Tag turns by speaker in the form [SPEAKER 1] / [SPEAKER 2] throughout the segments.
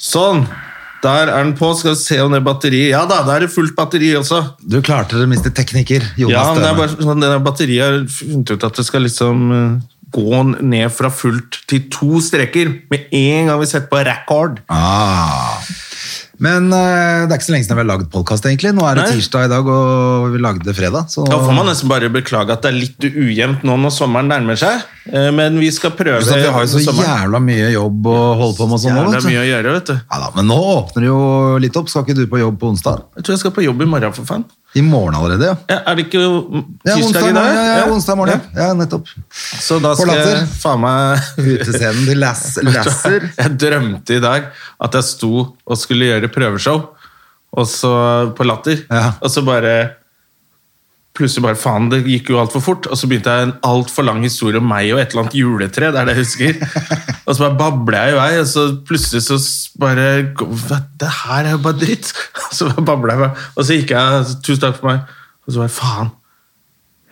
[SPEAKER 1] Sånn. Der er den på. Skal vi se om det er batteri. Ja da, der er det fullt batteri også.
[SPEAKER 2] Du klarte det, mister tekniker. Jonas
[SPEAKER 1] Ja, men det er
[SPEAKER 2] Støme.
[SPEAKER 1] bare sånn det der batteriet har funnet ut at det skal liksom eh, gå ned fra fullt til to streker med en gang vi setter på record.
[SPEAKER 2] Ah. Men eh, det er ikke så lenge siden vi har lagd podkast, egentlig. Nå er det
[SPEAKER 1] Nei.
[SPEAKER 2] tirsdag i dag, og vi lagde det fredag. Så
[SPEAKER 1] Da får man nesten bare beklage at det er litt ujevnt nå når sommeren nærmer seg, eh, men vi skal prøve
[SPEAKER 2] Pluss at vi har jo så
[SPEAKER 1] sommeren.
[SPEAKER 2] jævla mye jobb å holde på med og sånn nå.
[SPEAKER 1] Jævla
[SPEAKER 2] vet du.
[SPEAKER 1] mye å gjøre, vet du.
[SPEAKER 2] Ja da, men nå åpner det jo litt opp. Skal ikke du på jobb på onsdag?
[SPEAKER 1] Jeg tror jeg skal på jobb i morgen, for faen.
[SPEAKER 2] I morgen allerede, ja.
[SPEAKER 1] Ja, er det ikke
[SPEAKER 2] Ja,
[SPEAKER 1] tirsdag
[SPEAKER 2] onsdag
[SPEAKER 1] i dag?
[SPEAKER 2] morgen. Ja, ja, onsdag morgen. Ja. ja, nettopp.
[SPEAKER 1] Ja. Så da skal
[SPEAKER 2] Forlater.
[SPEAKER 1] jeg faen meg
[SPEAKER 2] Utescenen til Lass, Lasser.
[SPEAKER 1] Jeg drømte i dag at jeg sto og skulle gjøre prøveshow og så på Latter.
[SPEAKER 2] Ja.
[SPEAKER 1] Og så bare Plutselig bare faen, det gikk jo altfor fort. Og så begynte jeg en altfor lang historie om meg og et eller annet juletre. det er det jeg husker. Og så bare babla jeg i vei, og så plutselig så s- bare "Hva, Det her er jo bare dritt. Og så bare babla jeg i vei. Og så gikk jeg Tusen takk for meg. Og så bare faen.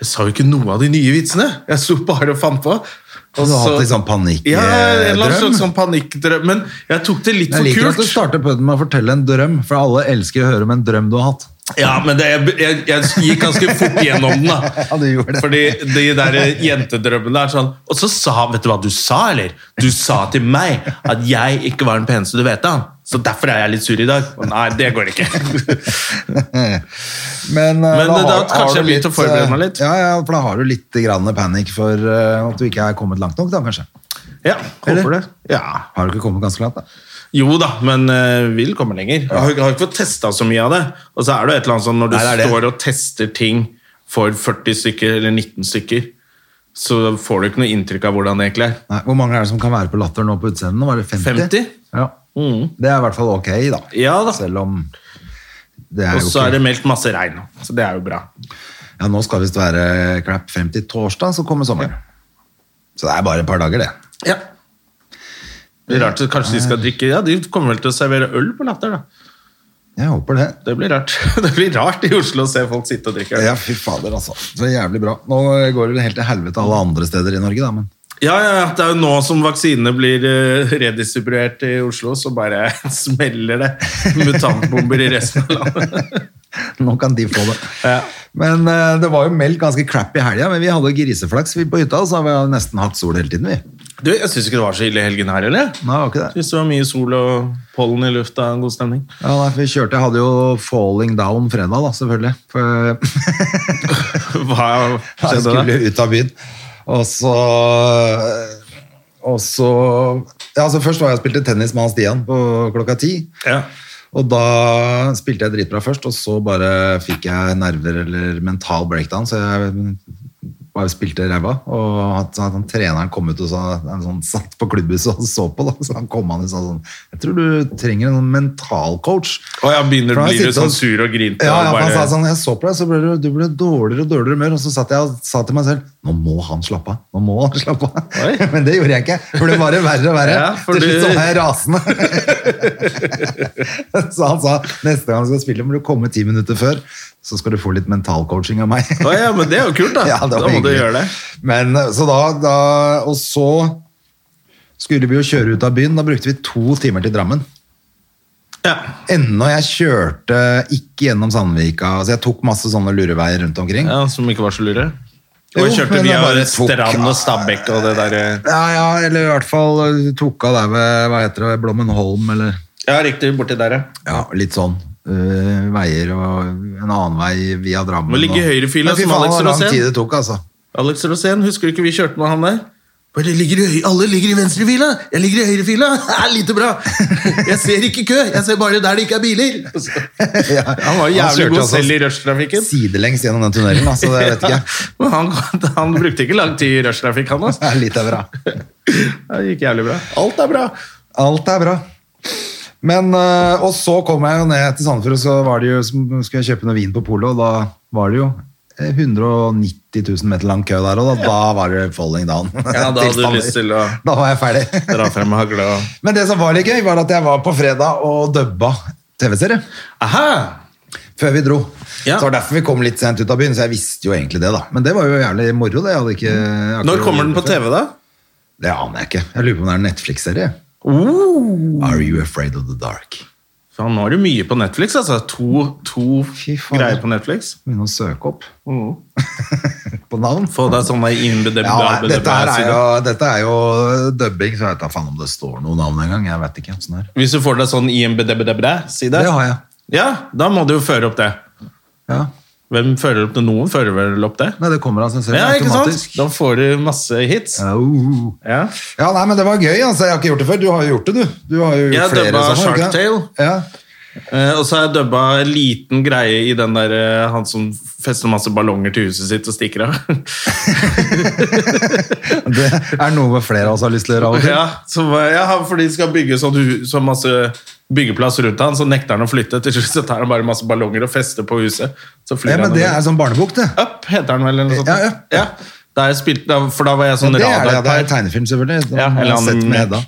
[SPEAKER 1] Jeg sa jo ikke noe av de nye vitsene. Jeg sto bare og fant på.
[SPEAKER 2] Og du har hatt litt sånn panikkdrøm?
[SPEAKER 1] Ja, en eller annen slags sånn panikkdrøm. Men jeg tok det litt
[SPEAKER 2] Jeg liker
[SPEAKER 1] for
[SPEAKER 2] at du
[SPEAKER 1] kult.
[SPEAKER 2] starter på den med å fortelle en drøm, for alle elsker å høre om en drøm du har hatt.
[SPEAKER 1] Ja, men det, jeg, jeg, jeg gikk ganske fort gjennom den, da.
[SPEAKER 2] Ja, du gjorde det.
[SPEAKER 1] Fordi de der jentedrømmene er sånn Og så sa Vet du hva du sa, eller? Du sa til meg at jeg ikke var den peneste du vet om. Så derfor er jeg litt sur i dag. Og Nei, det går ikke.
[SPEAKER 2] Men, eh,
[SPEAKER 1] Men, eh, da
[SPEAKER 2] du
[SPEAKER 1] kanskje jeg begynte å forberede meg
[SPEAKER 2] eh,
[SPEAKER 1] litt.
[SPEAKER 2] Ja, ja, for da har du litt grann panikk for eh, at du ikke er kommet langt nok, da, kanskje.
[SPEAKER 1] Ja,
[SPEAKER 2] Eller?
[SPEAKER 1] håper det. Ja.
[SPEAKER 2] Har du ikke kommet ganske langt, da?
[SPEAKER 1] Jo da, men eh, vil komme lenger. Jeg har, jeg har ikke fått testa så mye av det. Og så er det jo et eller annet sånn når du
[SPEAKER 2] Nei, det er det.
[SPEAKER 1] står og tester ting for 40 stykker eller 19 stykker, så får du ikke noe inntrykk av hvordan det egentlig er.
[SPEAKER 2] Nei, hvor mange er det som kan være på latter nå på utseendet? Var det 50?
[SPEAKER 1] 50?
[SPEAKER 2] Ja.
[SPEAKER 1] Mm.
[SPEAKER 2] Det er i hvert fall ok, da.
[SPEAKER 1] Ja da.
[SPEAKER 2] Selv om det er
[SPEAKER 1] Og
[SPEAKER 2] jo
[SPEAKER 1] så er
[SPEAKER 2] ikke
[SPEAKER 1] det meldt masse regn, så det er jo bra.
[SPEAKER 2] Ja, nå skal visst være klapp frem til torsdag, så kommer sommeren. Så det er bare et par dager, det.
[SPEAKER 1] Ja. Det blir rart, så Kanskje de skal
[SPEAKER 2] Eh.
[SPEAKER 1] drikke Ja, de kommer vel til å servere øl på Latter, da.
[SPEAKER 2] Jeg håper det.
[SPEAKER 1] Det blir rart. Det blir rart i Oslo å se folk sitte og drikke øl.
[SPEAKER 2] Ja, fy fader, altså. Så jævlig bra. Nå går det helt til helvete alle andre steder i Norge, da, men
[SPEAKER 1] Ja, ja, ja, det er jo nå som vaksinene blir eh, redistribuert i Oslo, så bare smeller det mutantbomber i resten av landet.
[SPEAKER 2] Nå kan de få det.
[SPEAKER 1] Ja.
[SPEAKER 2] Men eh, det var jo meldt ganske crap i helga, men vi hadde griseflaks vi på hytta, så vi har nesten hatt sol hele tiden, vi.
[SPEAKER 1] Du, jeg syns ikke det var så ille i helgen her, eller? Jeg
[SPEAKER 2] Nei, det var ikke det.
[SPEAKER 1] Syns det var mye sol og pollen i lufta, en god stemning.
[SPEAKER 2] Ja, nei, for vi kjørte, jeg hadde jo falling down fredag, da, selvfølgelig. For
[SPEAKER 1] Hva
[SPEAKER 2] jeg
[SPEAKER 1] skjedde da?
[SPEAKER 2] skulle ut av byen. Og så Og så Ja, altså først var jeg og spilte tennis med han Stian på klokka ti.
[SPEAKER 1] Ja.
[SPEAKER 2] Og da spilte jeg dritbra først, og så bare fikk jeg nerver eller mental breakdown, så jeg bare spilte ræva. Og at, at han, treneren kom ut og sa, han sånn, satt på klubbhuset og så på, da. så han kom han og sa sånn Jeg tror du trenger en sånn mental coach.
[SPEAKER 1] Og jeg begynner,
[SPEAKER 2] For han
[SPEAKER 1] blir du
[SPEAKER 2] sitter og-
[SPEAKER 1] sånn sur og grinte?
[SPEAKER 2] Ja, ja,
[SPEAKER 1] og
[SPEAKER 2] for han
[SPEAKER 1] bare,
[SPEAKER 2] sa sånn, jeg så på deg, så ble du, du ble dårligere og dårligere humør. Og så satt jeg og sa til meg selv, nå må han slappe av. Nå må han slappe av.
[SPEAKER 1] Oi.
[SPEAKER 2] Men det gjorde jeg ikke. For det var det verre og verre.
[SPEAKER 1] Ja, for
[SPEAKER 2] til slutt
[SPEAKER 1] du-
[SPEAKER 2] så var jeg rasende. så han sa, neste gang du skal spille, må du komme ti minutter før. Så skal du få litt mentalcoaching av meg.
[SPEAKER 1] Å ja, men det er jo kult, da.
[SPEAKER 2] Ja, det var
[SPEAKER 1] da må du
[SPEAKER 2] hyggelig.
[SPEAKER 1] gjøre det.
[SPEAKER 2] Men, eh, så da, da, og så skulle vi jo kjøre ut av byen. Da brukte vi to timer til Drammen.
[SPEAKER 1] Ja.
[SPEAKER 2] Ennå jeg kjørte ikke gjennom Sandvika, så jeg tok masse sånne lureveier rundt omkring.
[SPEAKER 1] ja, Som ikke var så lure?
[SPEAKER 2] Jo,
[SPEAKER 1] Og jeg kjørte
[SPEAKER 2] men
[SPEAKER 1] via
[SPEAKER 2] jeg bare tok-
[SPEAKER 1] Strand og Stabekk og det eh. derre
[SPEAKER 2] Ja, ja, eller i hvert fall eh, tok av der ved, hva heter det, Blommenholm, eller
[SPEAKER 1] Ja, riktig. Borti der, ja.
[SPEAKER 2] ja, litt sånn. eh, veier og en annen vei via Drammen.
[SPEAKER 1] Må ligge i
[SPEAKER 2] og-
[SPEAKER 1] høyrefila
[SPEAKER 2] Men fy
[SPEAKER 1] som
[SPEAKER 2] faen,
[SPEAKER 1] Alex
[SPEAKER 2] hvor lang
[SPEAKER 1] Rosén.
[SPEAKER 2] tid det tok, altså.
[SPEAKER 1] Alex Rosén, husker du ikke vi kjørte med han der? Bare det ligger i, høy- alle ligger i venstrefila! Jeg ligger i høyrefila! Det er lite bra! Jeg ser ikke kø, jeg ser bare der det ikke er biler!
[SPEAKER 2] Ja,
[SPEAKER 1] Han var jævlig
[SPEAKER 2] kjørte
[SPEAKER 1] god
[SPEAKER 2] altså
[SPEAKER 1] selv i rushtrafikken.
[SPEAKER 2] Sidelengs gjennom den tunnelen, altså, det vet ikke jeg.
[SPEAKER 1] Men han, han brukte ikke lang tid i rushtrafikk, han. Altså.
[SPEAKER 2] Det er litt av bra.
[SPEAKER 1] Det gikk jævlig bra. Alt er bra!
[SPEAKER 2] Alt er bra. Men, eh, og så kom jeg jo ned til Sandefjord, og så var det jo, som- skulle jeg kjøpe noe vin på polet, og da var det jo eh, 190 000 meter lang kø der, og da, da var det falling down.
[SPEAKER 1] Ja, da hadde du
[SPEAKER 2] Sandefjord.
[SPEAKER 1] lyst til å-
[SPEAKER 2] Da var jeg ferdig.
[SPEAKER 1] Dra frem hagla og
[SPEAKER 2] Men det som var litt gøy, var at jeg var på fredag og dubba TV-serie.
[SPEAKER 1] Aha!
[SPEAKER 2] Før vi dro.
[SPEAKER 1] Ja.
[SPEAKER 2] Så det var derfor vi kom litt sent ut av byen, så jeg visste jo egentlig det, da. Men det var jo jævlig moro, det. Jeg hadde ikke, jeg har
[SPEAKER 1] Når
[SPEAKER 2] ikke-
[SPEAKER 1] kommer den på TV, da?
[SPEAKER 2] Det aner jeg ikke. Jeg lurer på om det er en Netflix-serie. Are you afraid of the dark?
[SPEAKER 1] Faen, nå er det mye på Netflix, altså. To, to
[SPEAKER 2] Fy faen.
[SPEAKER 1] greier på Netflix.
[SPEAKER 2] Begynne å søke opp på navn.
[SPEAKER 1] Få deg sånne IMDb
[SPEAKER 2] Ja, nei, dette, her er jo,
[SPEAKER 1] sider.
[SPEAKER 2] dette er jo dubbing, så jeg vet da faen om det står noe navn engang. Jeg vet ikke. Sånn her.
[SPEAKER 1] Hvis du får deg sånn IMDb-side,
[SPEAKER 2] Det har jeg.
[SPEAKER 1] ja, da må du jo føre opp det.
[SPEAKER 2] Ja.
[SPEAKER 1] Hvem fører opp det? Noen fører vel opp det?
[SPEAKER 2] Nei, det kommer altså av seg selv
[SPEAKER 1] Ja, ikke sant?
[SPEAKER 2] automatisk.
[SPEAKER 1] Da får du masse hits.
[SPEAKER 2] Au.
[SPEAKER 1] Ja.
[SPEAKER 2] Ja, nei, men det var gøy. Altså. Jeg har ikke gjort det før. Du har jo gjort det, du. Du har jo gjort
[SPEAKER 1] Jeg
[SPEAKER 2] flere
[SPEAKER 1] dubba
[SPEAKER 2] sånne, har du
[SPEAKER 1] Shark
[SPEAKER 2] ikke det?
[SPEAKER 1] Tale.
[SPEAKER 2] Ja.
[SPEAKER 1] Eh, og så har jeg dubba en liten greie i den der eh, han som fester masse ballonger til huset sitt og stikker av.
[SPEAKER 2] Det er noe flere av oss har lyst til å gjøre av og til.
[SPEAKER 1] ja, som, eh, ja, han- fordi de skal bygge sånn, hu- så masse byggeplass rundt han, så nekter han å flytte. Til slutt så tar han bare masse ballonger og fester på huset. Så flyr
[SPEAKER 2] Ja, men
[SPEAKER 1] han
[SPEAKER 2] det
[SPEAKER 1] over.
[SPEAKER 2] er sånn barnebok, det.
[SPEAKER 1] Up heter han vel, eller noe sånt?
[SPEAKER 2] Ja, Up, ja.
[SPEAKER 1] Da jeg spilte, da, for da var jeg sånn
[SPEAKER 2] det er det, ja. det er
[SPEAKER 1] radarpar.
[SPEAKER 2] tegnefilm, selvfølgelig. Den
[SPEAKER 1] Ja,
[SPEAKER 2] har
[SPEAKER 1] eller
[SPEAKER 2] jeg sett med
[SPEAKER 1] animert.
[SPEAKER 2] Hedda.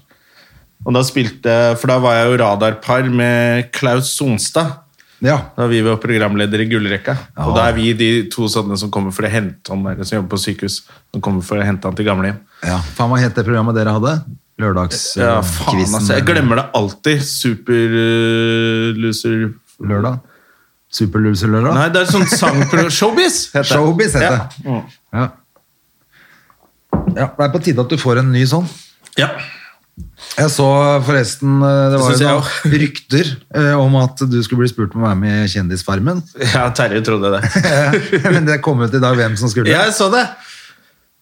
[SPEAKER 1] Og da spilte, for da var jeg jo radarpar med Klaus Sonstad.
[SPEAKER 2] Ja.
[SPEAKER 1] Da vi var programledere i Gullrekka.
[SPEAKER 2] Ja.
[SPEAKER 1] Og da er vi de to sånne som kommer for å hente han der, som jobber på sykehus. Som kommer for å hente han til gamlehjem.
[SPEAKER 2] ja. Faen, hva het det programmet dere hadde? Lørdags...
[SPEAKER 1] Ja,
[SPEAKER 2] eh,
[SPEAKER 1] faen,
[SPEAKER 2] quizen,
[SPEAKER 1] altså. Jeg
[SPEAKER 2] eller
[SPEAKER 1] glemmer det alltid. Superloser
[SPEAKER 2] Lørdag? Superloser lørdag?
[SPEAKER 1] Nei, det er sånn sangprogram Showbiz! heter det.
[SPEAKER 2] Showbiz heter
[SPEAKER 1] Ja. Mm.
[SPEAKER 2] det. Ja. ja. Det er på tide at du får en ny sånn.
[SPEAKER 1] Ja.
[SPEAKER 2] Jeg så forresten eh, Det
[SPEAKER 1] Det
[SPEAKER 2] var
[SPEAKER 1] synes
[SPEAKER 2] jo
[SPEAKER 1] jeg
[SPEAKER 2] noen rykter eh, om at du skulle bli spurt om å være med i Kjendisfarmen.
[SPEAKER 1] ja, Terje trodde det.
[SPEAKER 2] Men det kom ut i dag hvem som skulle.
[SPEAKER 1] Jeg så det!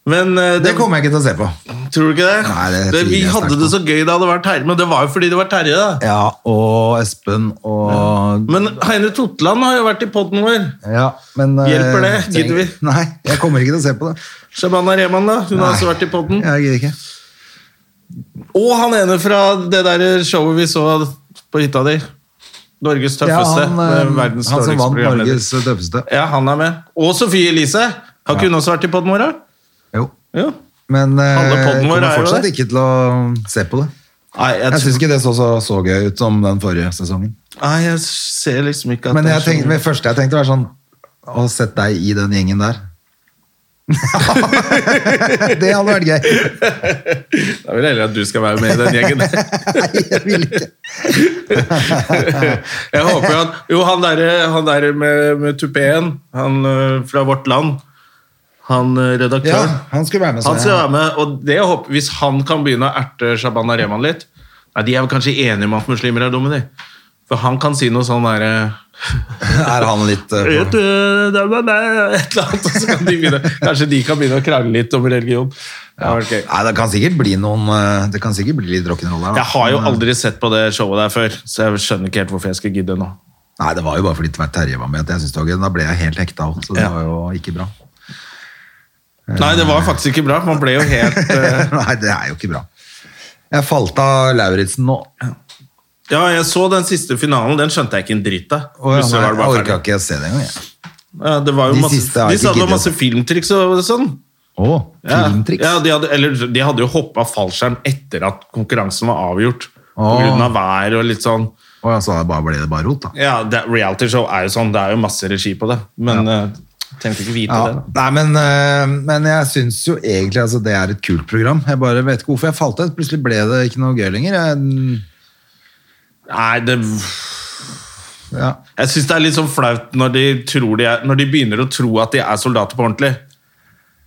[SPEAKER 1] Men eh,
[SPEAKER 2] det kommer jeg ikke til å se på.
[SPEAKER 1] Tror du ikke det?
[SPEAKER 2] Nei, det
[SPEAKER 1] det vi
[SPEAKER 2] tviler jeg
[SPEAKER 1] hadde
[SPEAKER 2] sterkt
[SPEAKER 1] det
[SPEAKER 2] på.
[SPEAKER 1] så gøy da det var Terje, men det var jo fordi det var Terje, da.
[SPEAKER 2] Ja, og Espen og
[SPEAKER 1] Men Heine Totland har jo vært i poden vår.
[SPEAKER 2] Ja, men eh,
[SPEAKER 1] Hjelper det?
[SPEAKER 2] trenger-
[SPEAKER 1] Gidder vi?
[SPEAKER 2] Nei, jeg kommer ikke til å se på det.
[SPEAKER 1] Shabana Rehman, da. Hun har
[SPEAKER 2] Nei.
[SPEAKER 1] også vært i poden.
[SPEAKER 2] Jeg gidder ikke.
[SPEAKER 1] Og han ene fra det der showet vi så på hytta di. Norges tøffeste.
[SPEAKER 2] eh,
[SPEAKER 1] med verdens
[SPEAKER 2] han som
[SPEAKER 1] dårligste
[SPEAKER 2] vant
[SPEAKER 1] programleder.
[SPEAKER 2] Norges tøffeste.
[SPEAKER 1] Ja, han er med. Og Sofie Elise. Har ikke hun også vært i poden vår, da?
[SPEAKER 2] Jo.
[SPEAKER 1] Jo.
[SPEAKER 2] Men eh,
[SPEAKER 1] Alle podden
[SPEAKER 2] jeg
[SPEAKER 1] vår
[SPEAKER 2] kommer
[SPEAKER 1] er jo
[SPEAKER 2] fortsatt
[SPEAKER 1] det.
[SPEAKER 2] ikke til å se på det.
[SPEAKER 1] Nei, jeg,
[SPEAKER 2] Jeg
[SPEAKER 1] tror-
[SPEAKER 2] syns ikke det så, så så gøy ut som den forrige sesongen.
[SPEAKER 1] Nei, jeg ser liksom ikke at
[SPEAKER 2] Men
[SPEAKER 1] det er
[SPEAKER 2] jeg tenkte,
[SPEAKER 1] så-
[SPEAKER 2] det første jeg tenkte, var sånn Å sette deg i den gjengen der. det hadde vært gøy.
[SPEAKER 1] Da vil jeg heller at du skal være med i den gjengen.
[SPEAKER 2] Nei, jeg vil ikke.
[SPEAKER 1] Jeg håper jo at Jo, han derre han der med, med tupeen, han ø, fra Vårt Land, han ø,
[SPEAKER 2] Ja, Altså,
[SPEAKER 1] redaktøren
[SPEAKER 2] han skulle være med. så
[SPEAKER 1] Han skal
[SPEAKER 2] jeg-
[SPEAKER 1] være med, og det jeg håper, hvis han kan begynne å erte Shabana Rehman litt Nei, De er vel kanskje enige om at muslimer er dumme, de. For han kan si noe sånn derre
[SPEAKER 2] Er han litt eh,
[SPEAKER 1] Vet du, det er meg, nei, Et eller annet, og så kan de begynne Kanskje de kan begynne å krangle litt om religion. Ja, ok.
[SPEAKER 2] Nei, det kan sikkert bli noen eh, Det kan sikkert bli litt rock'n'roll her. da.
[SPEAKER 1] Jeg har jo
[SPEAKER 2] Men, eh,
[SPEAKER 1] aldri sett på det showet der før, så jeg skjønner ikke helt hvorfor jeg skal gidde nå.
[SPEAKER 2] Nei, det var jo bare fordi Tvert Terje var med at jeg syntes det var gøy. Da ble jeg helt hekta òg, så det
[SPEAKER 1] Ja.
[SPEAKER 2] var jo ikke bra.
[SPEAKER 1] Nei, det var faktisk ikke bra. Man ble jo helt eh,
[SPEAKER 2] Nei, det er jo ikke bra. Jeg falt av Lauritzen nå.
[SPEAKER 1] Ja, jeg så den siste finalen, den skjønte jeg ikke en dritt av.
[SPEAKER 2] Og jeg,
[SPEAKER 1] Plutselig var det
[SPEAKER 2] jeg orka
[SPEAKER 1] bare ferdig.
[SPEAKER 2] ikke å se det engang. jeg.
[SPEAKER 1] Ja, det var jo
[SPEAKER 2] De
[SPEAKER 1] masse,
[SPEAKER 2] siste har
[SPEAKER 1] de
[SPEAKER 2] jeg ikke
[SPEAKER 1] sa det var
[SPEAKER 2] giddet.
[SPEAKER 1] masse filmtriks og sånn.
[SPEAKER 2] Å,
[SPEAKER 1] Ja.
[SPEAKER 2] filmtriks.
[SPEAKER 1] Ja, de hadde, eller de hadde jo hoppa fallskjerm etter at konkurransen var avgjort. På
[SPEAKER 2] Åh.
[SPEAKER 1] grunn av vær og litt sånn.
[SPEAKER 2] Og så bare ble det bare rot, da.
[SPEAKER 1] Ja, det, reality show er jo sånn, det er jo masse regi på det. Men ja. tenkte ikke vite
[SPEAKER 2] Ja.
[SPEAKER 1] det.
[SPEAKER 2] Nei, men, eh, men jeg syns jo egentlig altså, det er et kult program. Jeg bare vet ikke hvorfor jeg falt av. Plutselig ble det ikke noe gøy lenger. Jeg,
[SPEAKER 1] Nei, det
[SPEAKER 2] ja.
[SPEAKER 1] Jeg syns det er litt sånn flaut når de, tror de er, når de begynner å tro at de er soldater på ordentlig.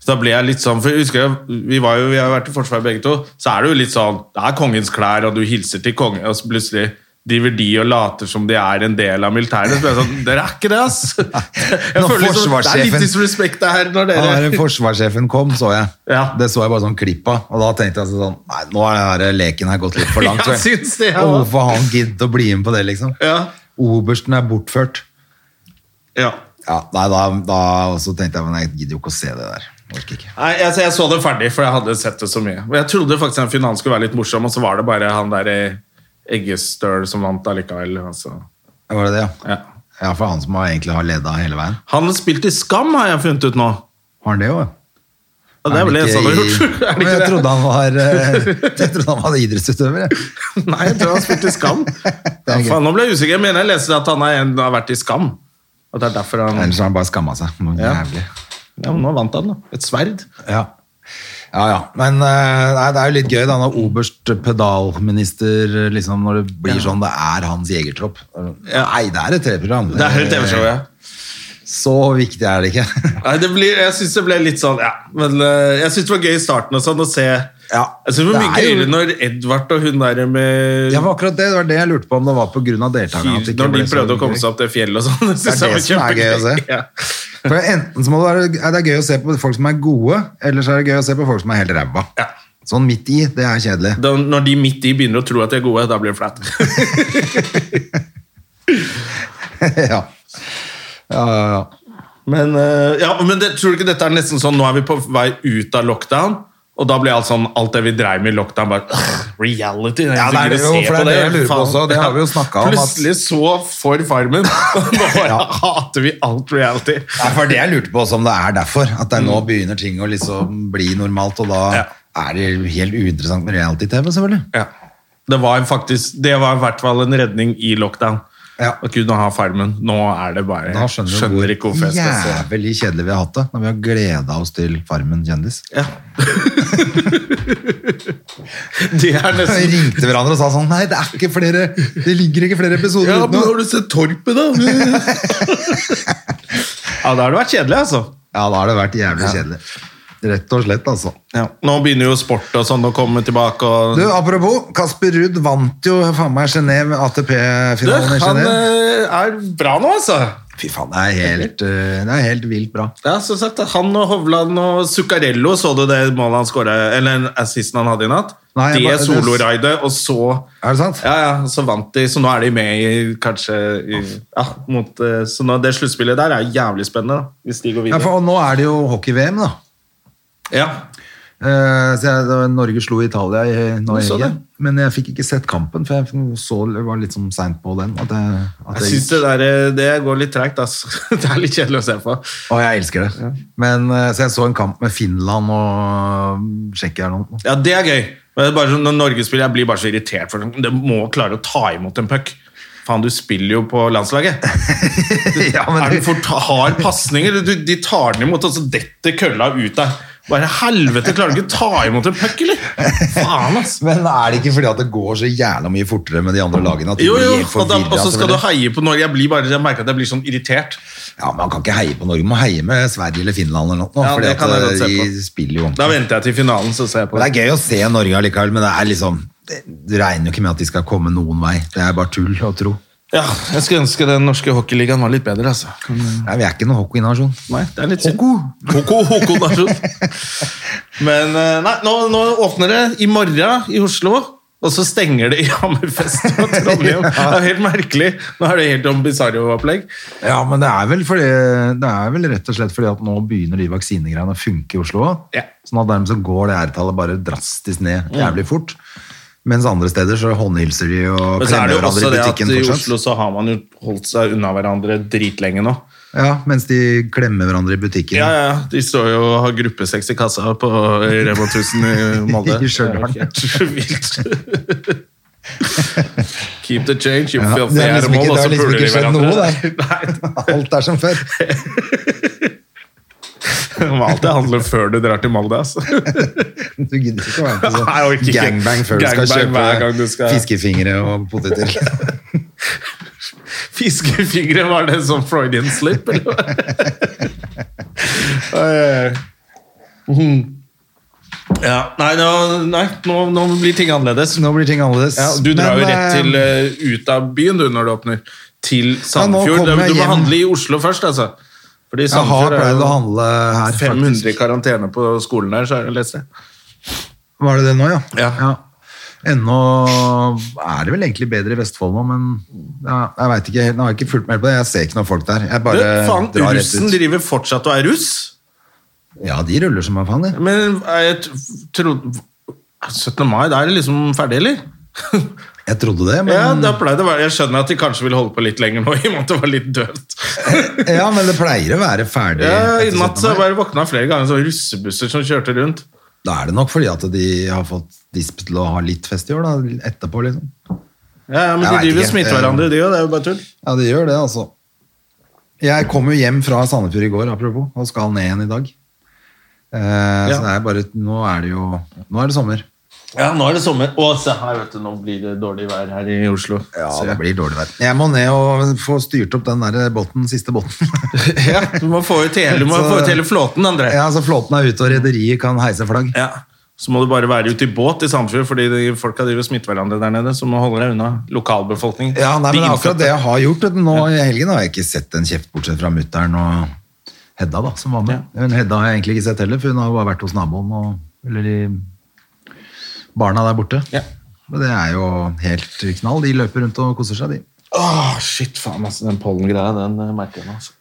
[SPEAKER 1] Så da ble jeg litt sånn, for jeg husker jeg, vi, var jo, vi har vært i forsvar begge to, så er det jo litt sånn Det er kongens klær, og du hilser til kongen, og så plutselig driver de og later som de er en del av militæret. Så ble jeg sånn Dere er ikke det, ass! Jeg
[SPEAKER 2] Når
[SPEAKER 1] føler liksom, det er
[SPEAKER 2] forsvarssjefen-
[SPEAKER 1] litt disrespekt det her når
[SPEAKER 2] Han
[SPEAKER 1] dere
[SPEAKER 2] der forsvarssjefen kom, så jeg.
[SPEAKER 1] Ja.
[SPEAKER 2] Det så jeg bare sånn klipp av. Og da tenkte jeg altså sånn Nei, nå er den her leken her gått litt for langt.
[SPEAKER 1] Ja,
[SPEAKER 2] vel.
[SPEAKER 1] syns det, ja.
[SPEAKER 2] Og hvorfor har han giddet å bli med på det, liksom?
[SPEAKER 1] Ja.
[SPEAKER 2] Obersten er bortført.
[SPEAKER 1] ja.
[SPEAKER 2] Ja, nei, da, da og så tenkte jeg men jeg gidder jo ikke å se det der. Orker ikke.
[SPEAKER 1] Nei, altså, jeg, jeg så det ferdig, for jeg hadde sett det så mye. Men jeg trodde faktisk den finalen skulle være litt morsom, og så var det bare han der eh, Eggestøl som vant allikevel. Altså.
[SPEAKER 2] Var det det, ja?
[SPEAKER 1] Ja.
[SPEAKER 2] Ja, for han som har egentlig har leda hele veien.
[SPEAKER 1] Han har spilt i Skam, har jeg funnet ut nå.
[SPEAKER 2] Har han det òg?
[SPEAKER 1] Ja, det er vel det eneste han har gjort. Er det
[SPEAKER 2] jeg,
[SPEAKER 1] ikke
[SPEAKER 2] trodde han var, eh, jeg trodde han var idrettsutøver. jeg.
[SPEAKER 1] det? Nei, jeg tror han har spilt i Skam. Ja,
[SPEAKER 2] gøy.
[SPEAKER 1] faen, nå ble jeg usikker. Jeg mener jeg leste at han er en, har vært i Skam. At det er derfor han
[SPEAKER 2] Ellers har han bare skamma seg. noe
[SPEAKER 1] Ja.
[SPEAKER 2] Jævlig.
[SPEAKER 1] Ja, men nå vant han, da. Et sverd.
[SPEAKER 2] Ja. ja, ja. Men eh, nei, det er jo litt gøy da, når oberst pedalminister liksom, Når det blir sånn, det er hans jegertropp.
[SPEAKER 1] Ja.
[SPEAKER 2] Nei, det er et TV-program.
[SPEAKER 1] Det er jo TV-show, ja.
[SPEAKER 2] Så viktig er det ikke.
[SPEAKER 1] Nei, det blir, jeg syns det ble litt sånn, ja. Men eh, jeg syns det var gøy i starten og sånn å se.
[SPEAKER 2] Ja,
[SPEAKER 1] jeg synes Altså, det var
[SPEAKER 2] det
[SPEAKER 1] mye
[SPEAKER 2] er jo-
[SPEAKER 1] gøyere når Edvard og hun der med
[SPEAKER 2] Ja, men akkurat det, det var det jeg lurte på om det var pga. deltakerne. at
[SPEAKER 1] Fyr,
[SPEAKER 2] det ikke
[SPEAKER 1] når de
[SPEAKER 2] ble så
[SPEAKER 1] prøvde å komme seg opp det fjellet og sånn.
[SPEAKER 2] Det er det som er gøy altså. å se. For enten så må det være ja, det er gøy å se på folk som er gode, eller så er det gøy å se på folk som er helt ræva.
[SPEAKER 1] Ja.
[SPEAKER 2] Sånn midt i, det er kjedelig.
[SPEAKER 1] Da, når de midt i begynner å tro at de er gode, da blir det flaut.
[SPEAKER 2] ja. Ja, ja, ja.
[SPEAKER 1] Men, eh, ja, men det, tror du ikke dette er nesten sånn Nå er vi på vei ut av lockdown, og da blir alt sånn Alt det vi dreiv med i lockdown, bare øh, Reality!
[SPEAKER 2] Ja, det er det jo, for det er det jeg lurer på også, det har vi jo snakket om, at-
[SPEAKER 1] Plutselig så for Farmen, og nå bare
[SPEAKER 2] Ja.
[SPEAKER 1] hater vi alt reality.
[SPEAKER 2] Nei, for det jeg lurte på også om det er derfor. At det er nå begynner ting å liksom bli normalt, og da
[SPEAKER 1] Mm. Ja.
[SPEAKER 2] er det helt uinteressant med reality-TV, selvfølgelig.
[SPEAKER 1] Ja. Det var faktisk Det var i hvert fall en redning i lockdown.
[SPEAKER 2] Ja.
[SPEAKER 1] Å kunne ha Farmen. Nå er det bare
[SPEAKER 2] Da skjønner, du
[SPEAKER 1] ikke hvorfor
[SPEAKER 2] hvor
[SPEAKER 1] jeg skal se.
[SPEAKER 2] jævlig kjedelig vi har hatt det, når vi har gleda oss til Farmen kjendis.
[SPEAKER 1] Ja. det
[SPEAKER 2] Vi
[SPEAKER 1] er nesten
[SPEAKER 2] ringte hverandre og sa sånn Nei, det er ikke flere Det ligger ikke flere episoder
[SPEAKER 1] Ja,
[SPEAKER 2] ute
[SPEAKER 1] men har
[SPEAKER 2] nå.
[SPEAKER 1] du sett Torpet, da? ja, da har det vært kjedelig, altså.
[SPEAKER 2] Ja, da har det vært jævlig kjedelig. Rett og slett, altså.
[SPEAKER 1] Nå begynner jo sport og sånn å komme tilbake og
[SPEAKER 2] Du, apropos, Kasper Ruud vant jo faen meg Genève,
[SPEAKER 1] Du,
[SPEAKER 2] ATP-finalen i
[SPEAKER 1] han
[SPEAKER 2] Genève.
[SPEAKER 1] eh, er bra nå, altså.
[SPEAKER 2] Fy faen, det er helt, eh, det er helt vilt bra.
[SPEAKER 1] Ja, som sagt, Han og Hovland og Zuccarello, så du det målet han skåra, eller assisten han hadde i natt?
[SPEAKER 2] Nei, jeg
[SPEAKER 1] det
[SPEAKER 2] bare-
[SPEAKER 1] soloraidet, og så
[SPEAKER 2] Er det sant?
[SPEAKER 1] Ja, ja, så vant de, så nå er de med i kanskje i, ja, mot, eh, Så nå, det sluttspillet der er jævlig spennende, da, hvis de
[SPEAKER 2] Ja,
[SPEAKER 1] går videre.
[SPEAKER 2] for, og nå er det jo hockey-VM, da.
[SPEAKER 1] Ja,
[SPEAKER 2] Eh, så jeg, det var- Norge slo Italia i, nå i
[SPEAKER 1] Du så
[SPEAKER 2] helgen.
[SPEAKER 1] det?
[SPEAKER 2] Men jeg fikk ikke sett kampen, for jeg så, det var litt sånn seint på den. At jeg, at
[SPEAKER 1] jeg
[SPEAKER 2] jeg
[SPEAKER 1] syns det der eh, det går litt tregt, ass. Det er litt kjedelig å se på.
[SPEAKER 2] Å, jeg elsker det. Men, eh, så jeg så en kamp med Finland og Tsjekkia eller noe.
[SPEAKER 1] Ja, det er gøy. Men det er bare sånn, når Norge spiller, jeg blir bare så irritert, for det må klare å ta imot en puck. Faen, du spiller jo på landslaget.
[SPEAKER 2] ja, men
[SPEAKER 1] Er den
[SPEAKER 2] det,
[SPEAKER 1] for ta- hard pasninger? Du, de tar den imot, og så detter kølla ut der. Bare helvete, klarer du ikke å ta imot en puck, eller? Faen, ass.
[SPEAKER 2] men er det ikke fordi at det går så jævla mye fortere med de andre lagene? At de
[SPEAKER 1] Jo, jo,
[SPEAKER 2] blir altså, helt
[SPEAKER 1] og, da,
[SPEAKER 2] forvirret,
[SPEAKER 1] og så skal du
[SPEAKER 2] selvfølgelig?
[SPEAKER 1] heie på Norge. Jeg, blir bare, jeg merker at jeg blir sånn irritert.
[SPEAKER 2] Ja, men Man kan ikke heie på Norge, man må heie med Sverige eller Finland eller noe.
[SPEAKER 1] Ja,
[SPEAKER 2] fordi
[SPEAKER 1] det kan jeg
[SPEAKER 2] at
[SPEAKER 1] godt se
[SPEAKER 2] eh,
[SPEAKER 1] på.
[SPEAKER 2] de spiller jo
[SPEAKER 1] Da
[SPEAKER 2] ordentlig.
[SPEAKER 1] venter jeg til finalen, så ser jeg på
[SPEAKER 2] Men
[SPEAKER 1] det.
[SPEAKER 2] Det er gøy å se Norge allikevel, men det er liksom det- Du regner jo ikke med at de skal komme noen vei. Det er bare tull å tro.
[SPEAKER 1] Ja, jeg skulle ønske den norske hockeyligaen var litt bedre, altså.
[SPEAKER 2] Nei, vi er ikke noen hockeynasjon.
[SPEAKER 1] Nei, det er litt synd. Hoko, hoko nasjon. Men eh, nei, nå, nå åpner det i morgen i Oslo. Og så stenger det i Hammerfest og Trondheim. Det er helt merkelig. Nå er det helt om Bizarro-opplegg.
[SPEAKER 2] Ja, men det er, vel fordi, det er vel rett og slett fordi at nå begynner de vaksinegreiene å funke i Oslo også.
[SPEAKER 1] Ja. Mm.
[SPEAKER 2] Sånn at dermed så går det R-tallet bare drastisk ned jævlig fort. Mens andre steder så håndhilser de og
[SPEAKER 1] Men så er
[SPEAKER 2] klemmer
[SPEAKER 1] det jo
[SPEAKER 2] hverandre
[SPEAKER 1] også
[SPEAKER 2] i
[SPEAKER 1] det at
[SPEAKER 2] butikken
[SPEAKER 1] i
[SPEAKER 2] fortsatt.
[SPEAKER 1] Oslo så har man jo holdt seg unna hverandre dritlenge nå.
[SPEAKER 2] Ja, mens de klemmer hverandre i butikken.
[SPEAKER 1] Ja, ja, de står jo og har gruppesex i kassa på Rema 1000 i Molde.
[SPEAKER 2] I Stjørdal.
[SPEAKER 1] Det er helt vilt. Keep the change, you
[SPEAKER 2] Ja,
[SPEAKER 1] filthy
[SPEAKER 2] det har liksom ikke- det har
[SPEAKER 1] animal, og så
[SPEAKER 2] liksom
[SPEAKER 1] puler de
[SPEAKER 2] ikke skjedd
[SPEAKER 1] hverandre.
[SPEAKER 2] Alt er som før.
[SPEAKER 1] Nei, man må alltid handle før du drar til Molde, altså.
[SPEAKER 2] Du gidder ikke å være med
[SPEAKER 1] Nei, jeg orker
[SPEAKER 2] på
[SPEAKER 1] ikke.
[SPEAKER 2] sånn gangbang før du skal
[SPEAKER 1] Gangbang hver gang du
[SPEAKER 2] kjøpe
[SPEAKER 1] skal-
[SPEAKER 2] fiskefingre og poteter.
[SPEAKER 1] Fiskefingre, var det sånn Freudian slip, eller hva? Oi, oi, oi. Mhm. Ja, nei, nå, nei nå, nå blir ting annerledes.
[SPEAKER 2] Nå blir ting annerledes.
[SPEAKER 1] Ja, du drar jo
[SPEAKER 2] Men,
[SPEAKER 1] rett
[SPEAKER 2] eh,
[SPEAKER 1] til eh, ut av byen du når det åpner. Til Sandefjord.
[SPEAKER 2] kommer jeg
[SPEAKER 1] du må
[SPEAKER 2] hjem.
[SPEAKER 1] handle i Oslo først, altså. Fordi
[SPEAKER 2] Jeg har
[SPEAKER 1] Sandefjord
[SPEAKER 2] pleid å
[SPEAKER 1] er jo
[SPEAKER 2] handle her,
[SPEAKER 1] 500 i karantene på skolen der, så er det lest det.
[SPEAKER 2] Var det det nå, ja?
[SPEAKER 1] Ja.
[SPEAKER 2] Ennå er det vel egentlig bedre i Vestfold nå, men ja, jeg veit ikke helt. Nå har jeg ikke fulgt med på det. Jeg ser ikke noen folk der. Jeg
[SPEAKER 1] Du,
[SPEAKER 2] bare
[SPEAKER 1] faen,
[SPEAKER 2] drar rett
[SPEAKER 1] russen
[SPEAKER 2] ut.
[SPEAKER 1] driver fortsatt og er russ.
[SPEAKER 2] Ja, de ruller som bare faen, de.
[SPEAKER 1] Men jeg trodde 17. mai, da er det liksom ferdig, eller?
[SPEAKER 2] Jeg trodde det, men,
[SPEAKER 1] Ja, da pleier det å være Jeg skjønner at de kanskje ville holde på litt lenger nå, i og med at det var litt døvt.
[SPEAKER 2] ja, men det pleier å være ferdig.
[SPEAKER 1] Ja, I
[SPEAKER 2] etter
[SPEAKER 1] natt
[SPEAKER 2] 17. mai.
[SPEAKER 1] så jeg sånn bare våkna flere ganger sånn russebusser som kjørte rundt.
[SPEAKER 2] Da er det nok fordi at de har fått disp til å ha litt fest i år, da, etterpå, liksom.
[SPEAKER 1] Ja, ja,
[SPEAKER 2] Jeg
[SPEAKER 1] Men de
[SPEAKER 2] vet
[SPEAKER 1] driver og
[SPEAKER 2] ikke.
[SPEAKER 1] smitter hverandre, de òg. Det er jo bare tull.
[SPEAKER 2] Ja, det gjør det, altså. Jeg kom jo hjem fra Sandefjord i går, apropos, og skal ned igjen i dag. Eh,
[SPEAKER 1] Ja.
[SPEAKER 2] Så det er bare, nå er det jo Nå er det sommer.
[SPEAKER 1] Ja, nå er det sommer. Å, se her, vet du. Nå blir det dårlig vær her i Oslo.
[SPEAKER 2] Så
[SPEAKER 1] Ser
[SPEAKER 2] det
[SPEAKER 1] jeg.
[SPEAKER 2] blir dårlig vær. Jeg må ned og få styrt opp den der båten, siste båten.
[SPEAKER 1] ja, du må få ut hele, du må
[SPEAKER 2] Så-
[SPEAKER 1] få ut hele flåten, André.
[SPEAKER 2] ja, så flåten er ute, og rederiet kan heise flagg.
[SPEAKER 1] Ja. Så må du bare være ute i båt i Sandefjord, fordi de- folka driver og smitter hverandre der nede. Så må holde deg unna lokalbefolkningen.
[SPEAKER 2] Ja, nei, men det er
[SPEAKER 1] De
[SPEAKER 2] akkurat
[SPEAKER 1] innfødte.
[SPEAKER 2] det jeg har gjort. vet du. Nå i helgen har jeg ikke sett en kjeft, bortsett fra mutter'n og Hedda, da, som var med. Men Hedda har jeg egentlig ikke sett heller, for hun har bare vært hos naboen og eller i barna der borte.
[SPEAKER 1] Ja.
[SPEAKER 2] Og det er jo helt knall. De løper rundt og koser seg, de.
[SPEAKER 1] Åh, shit, faen, altså. Den pollengreia, den eh, merker jeg nå. Altså.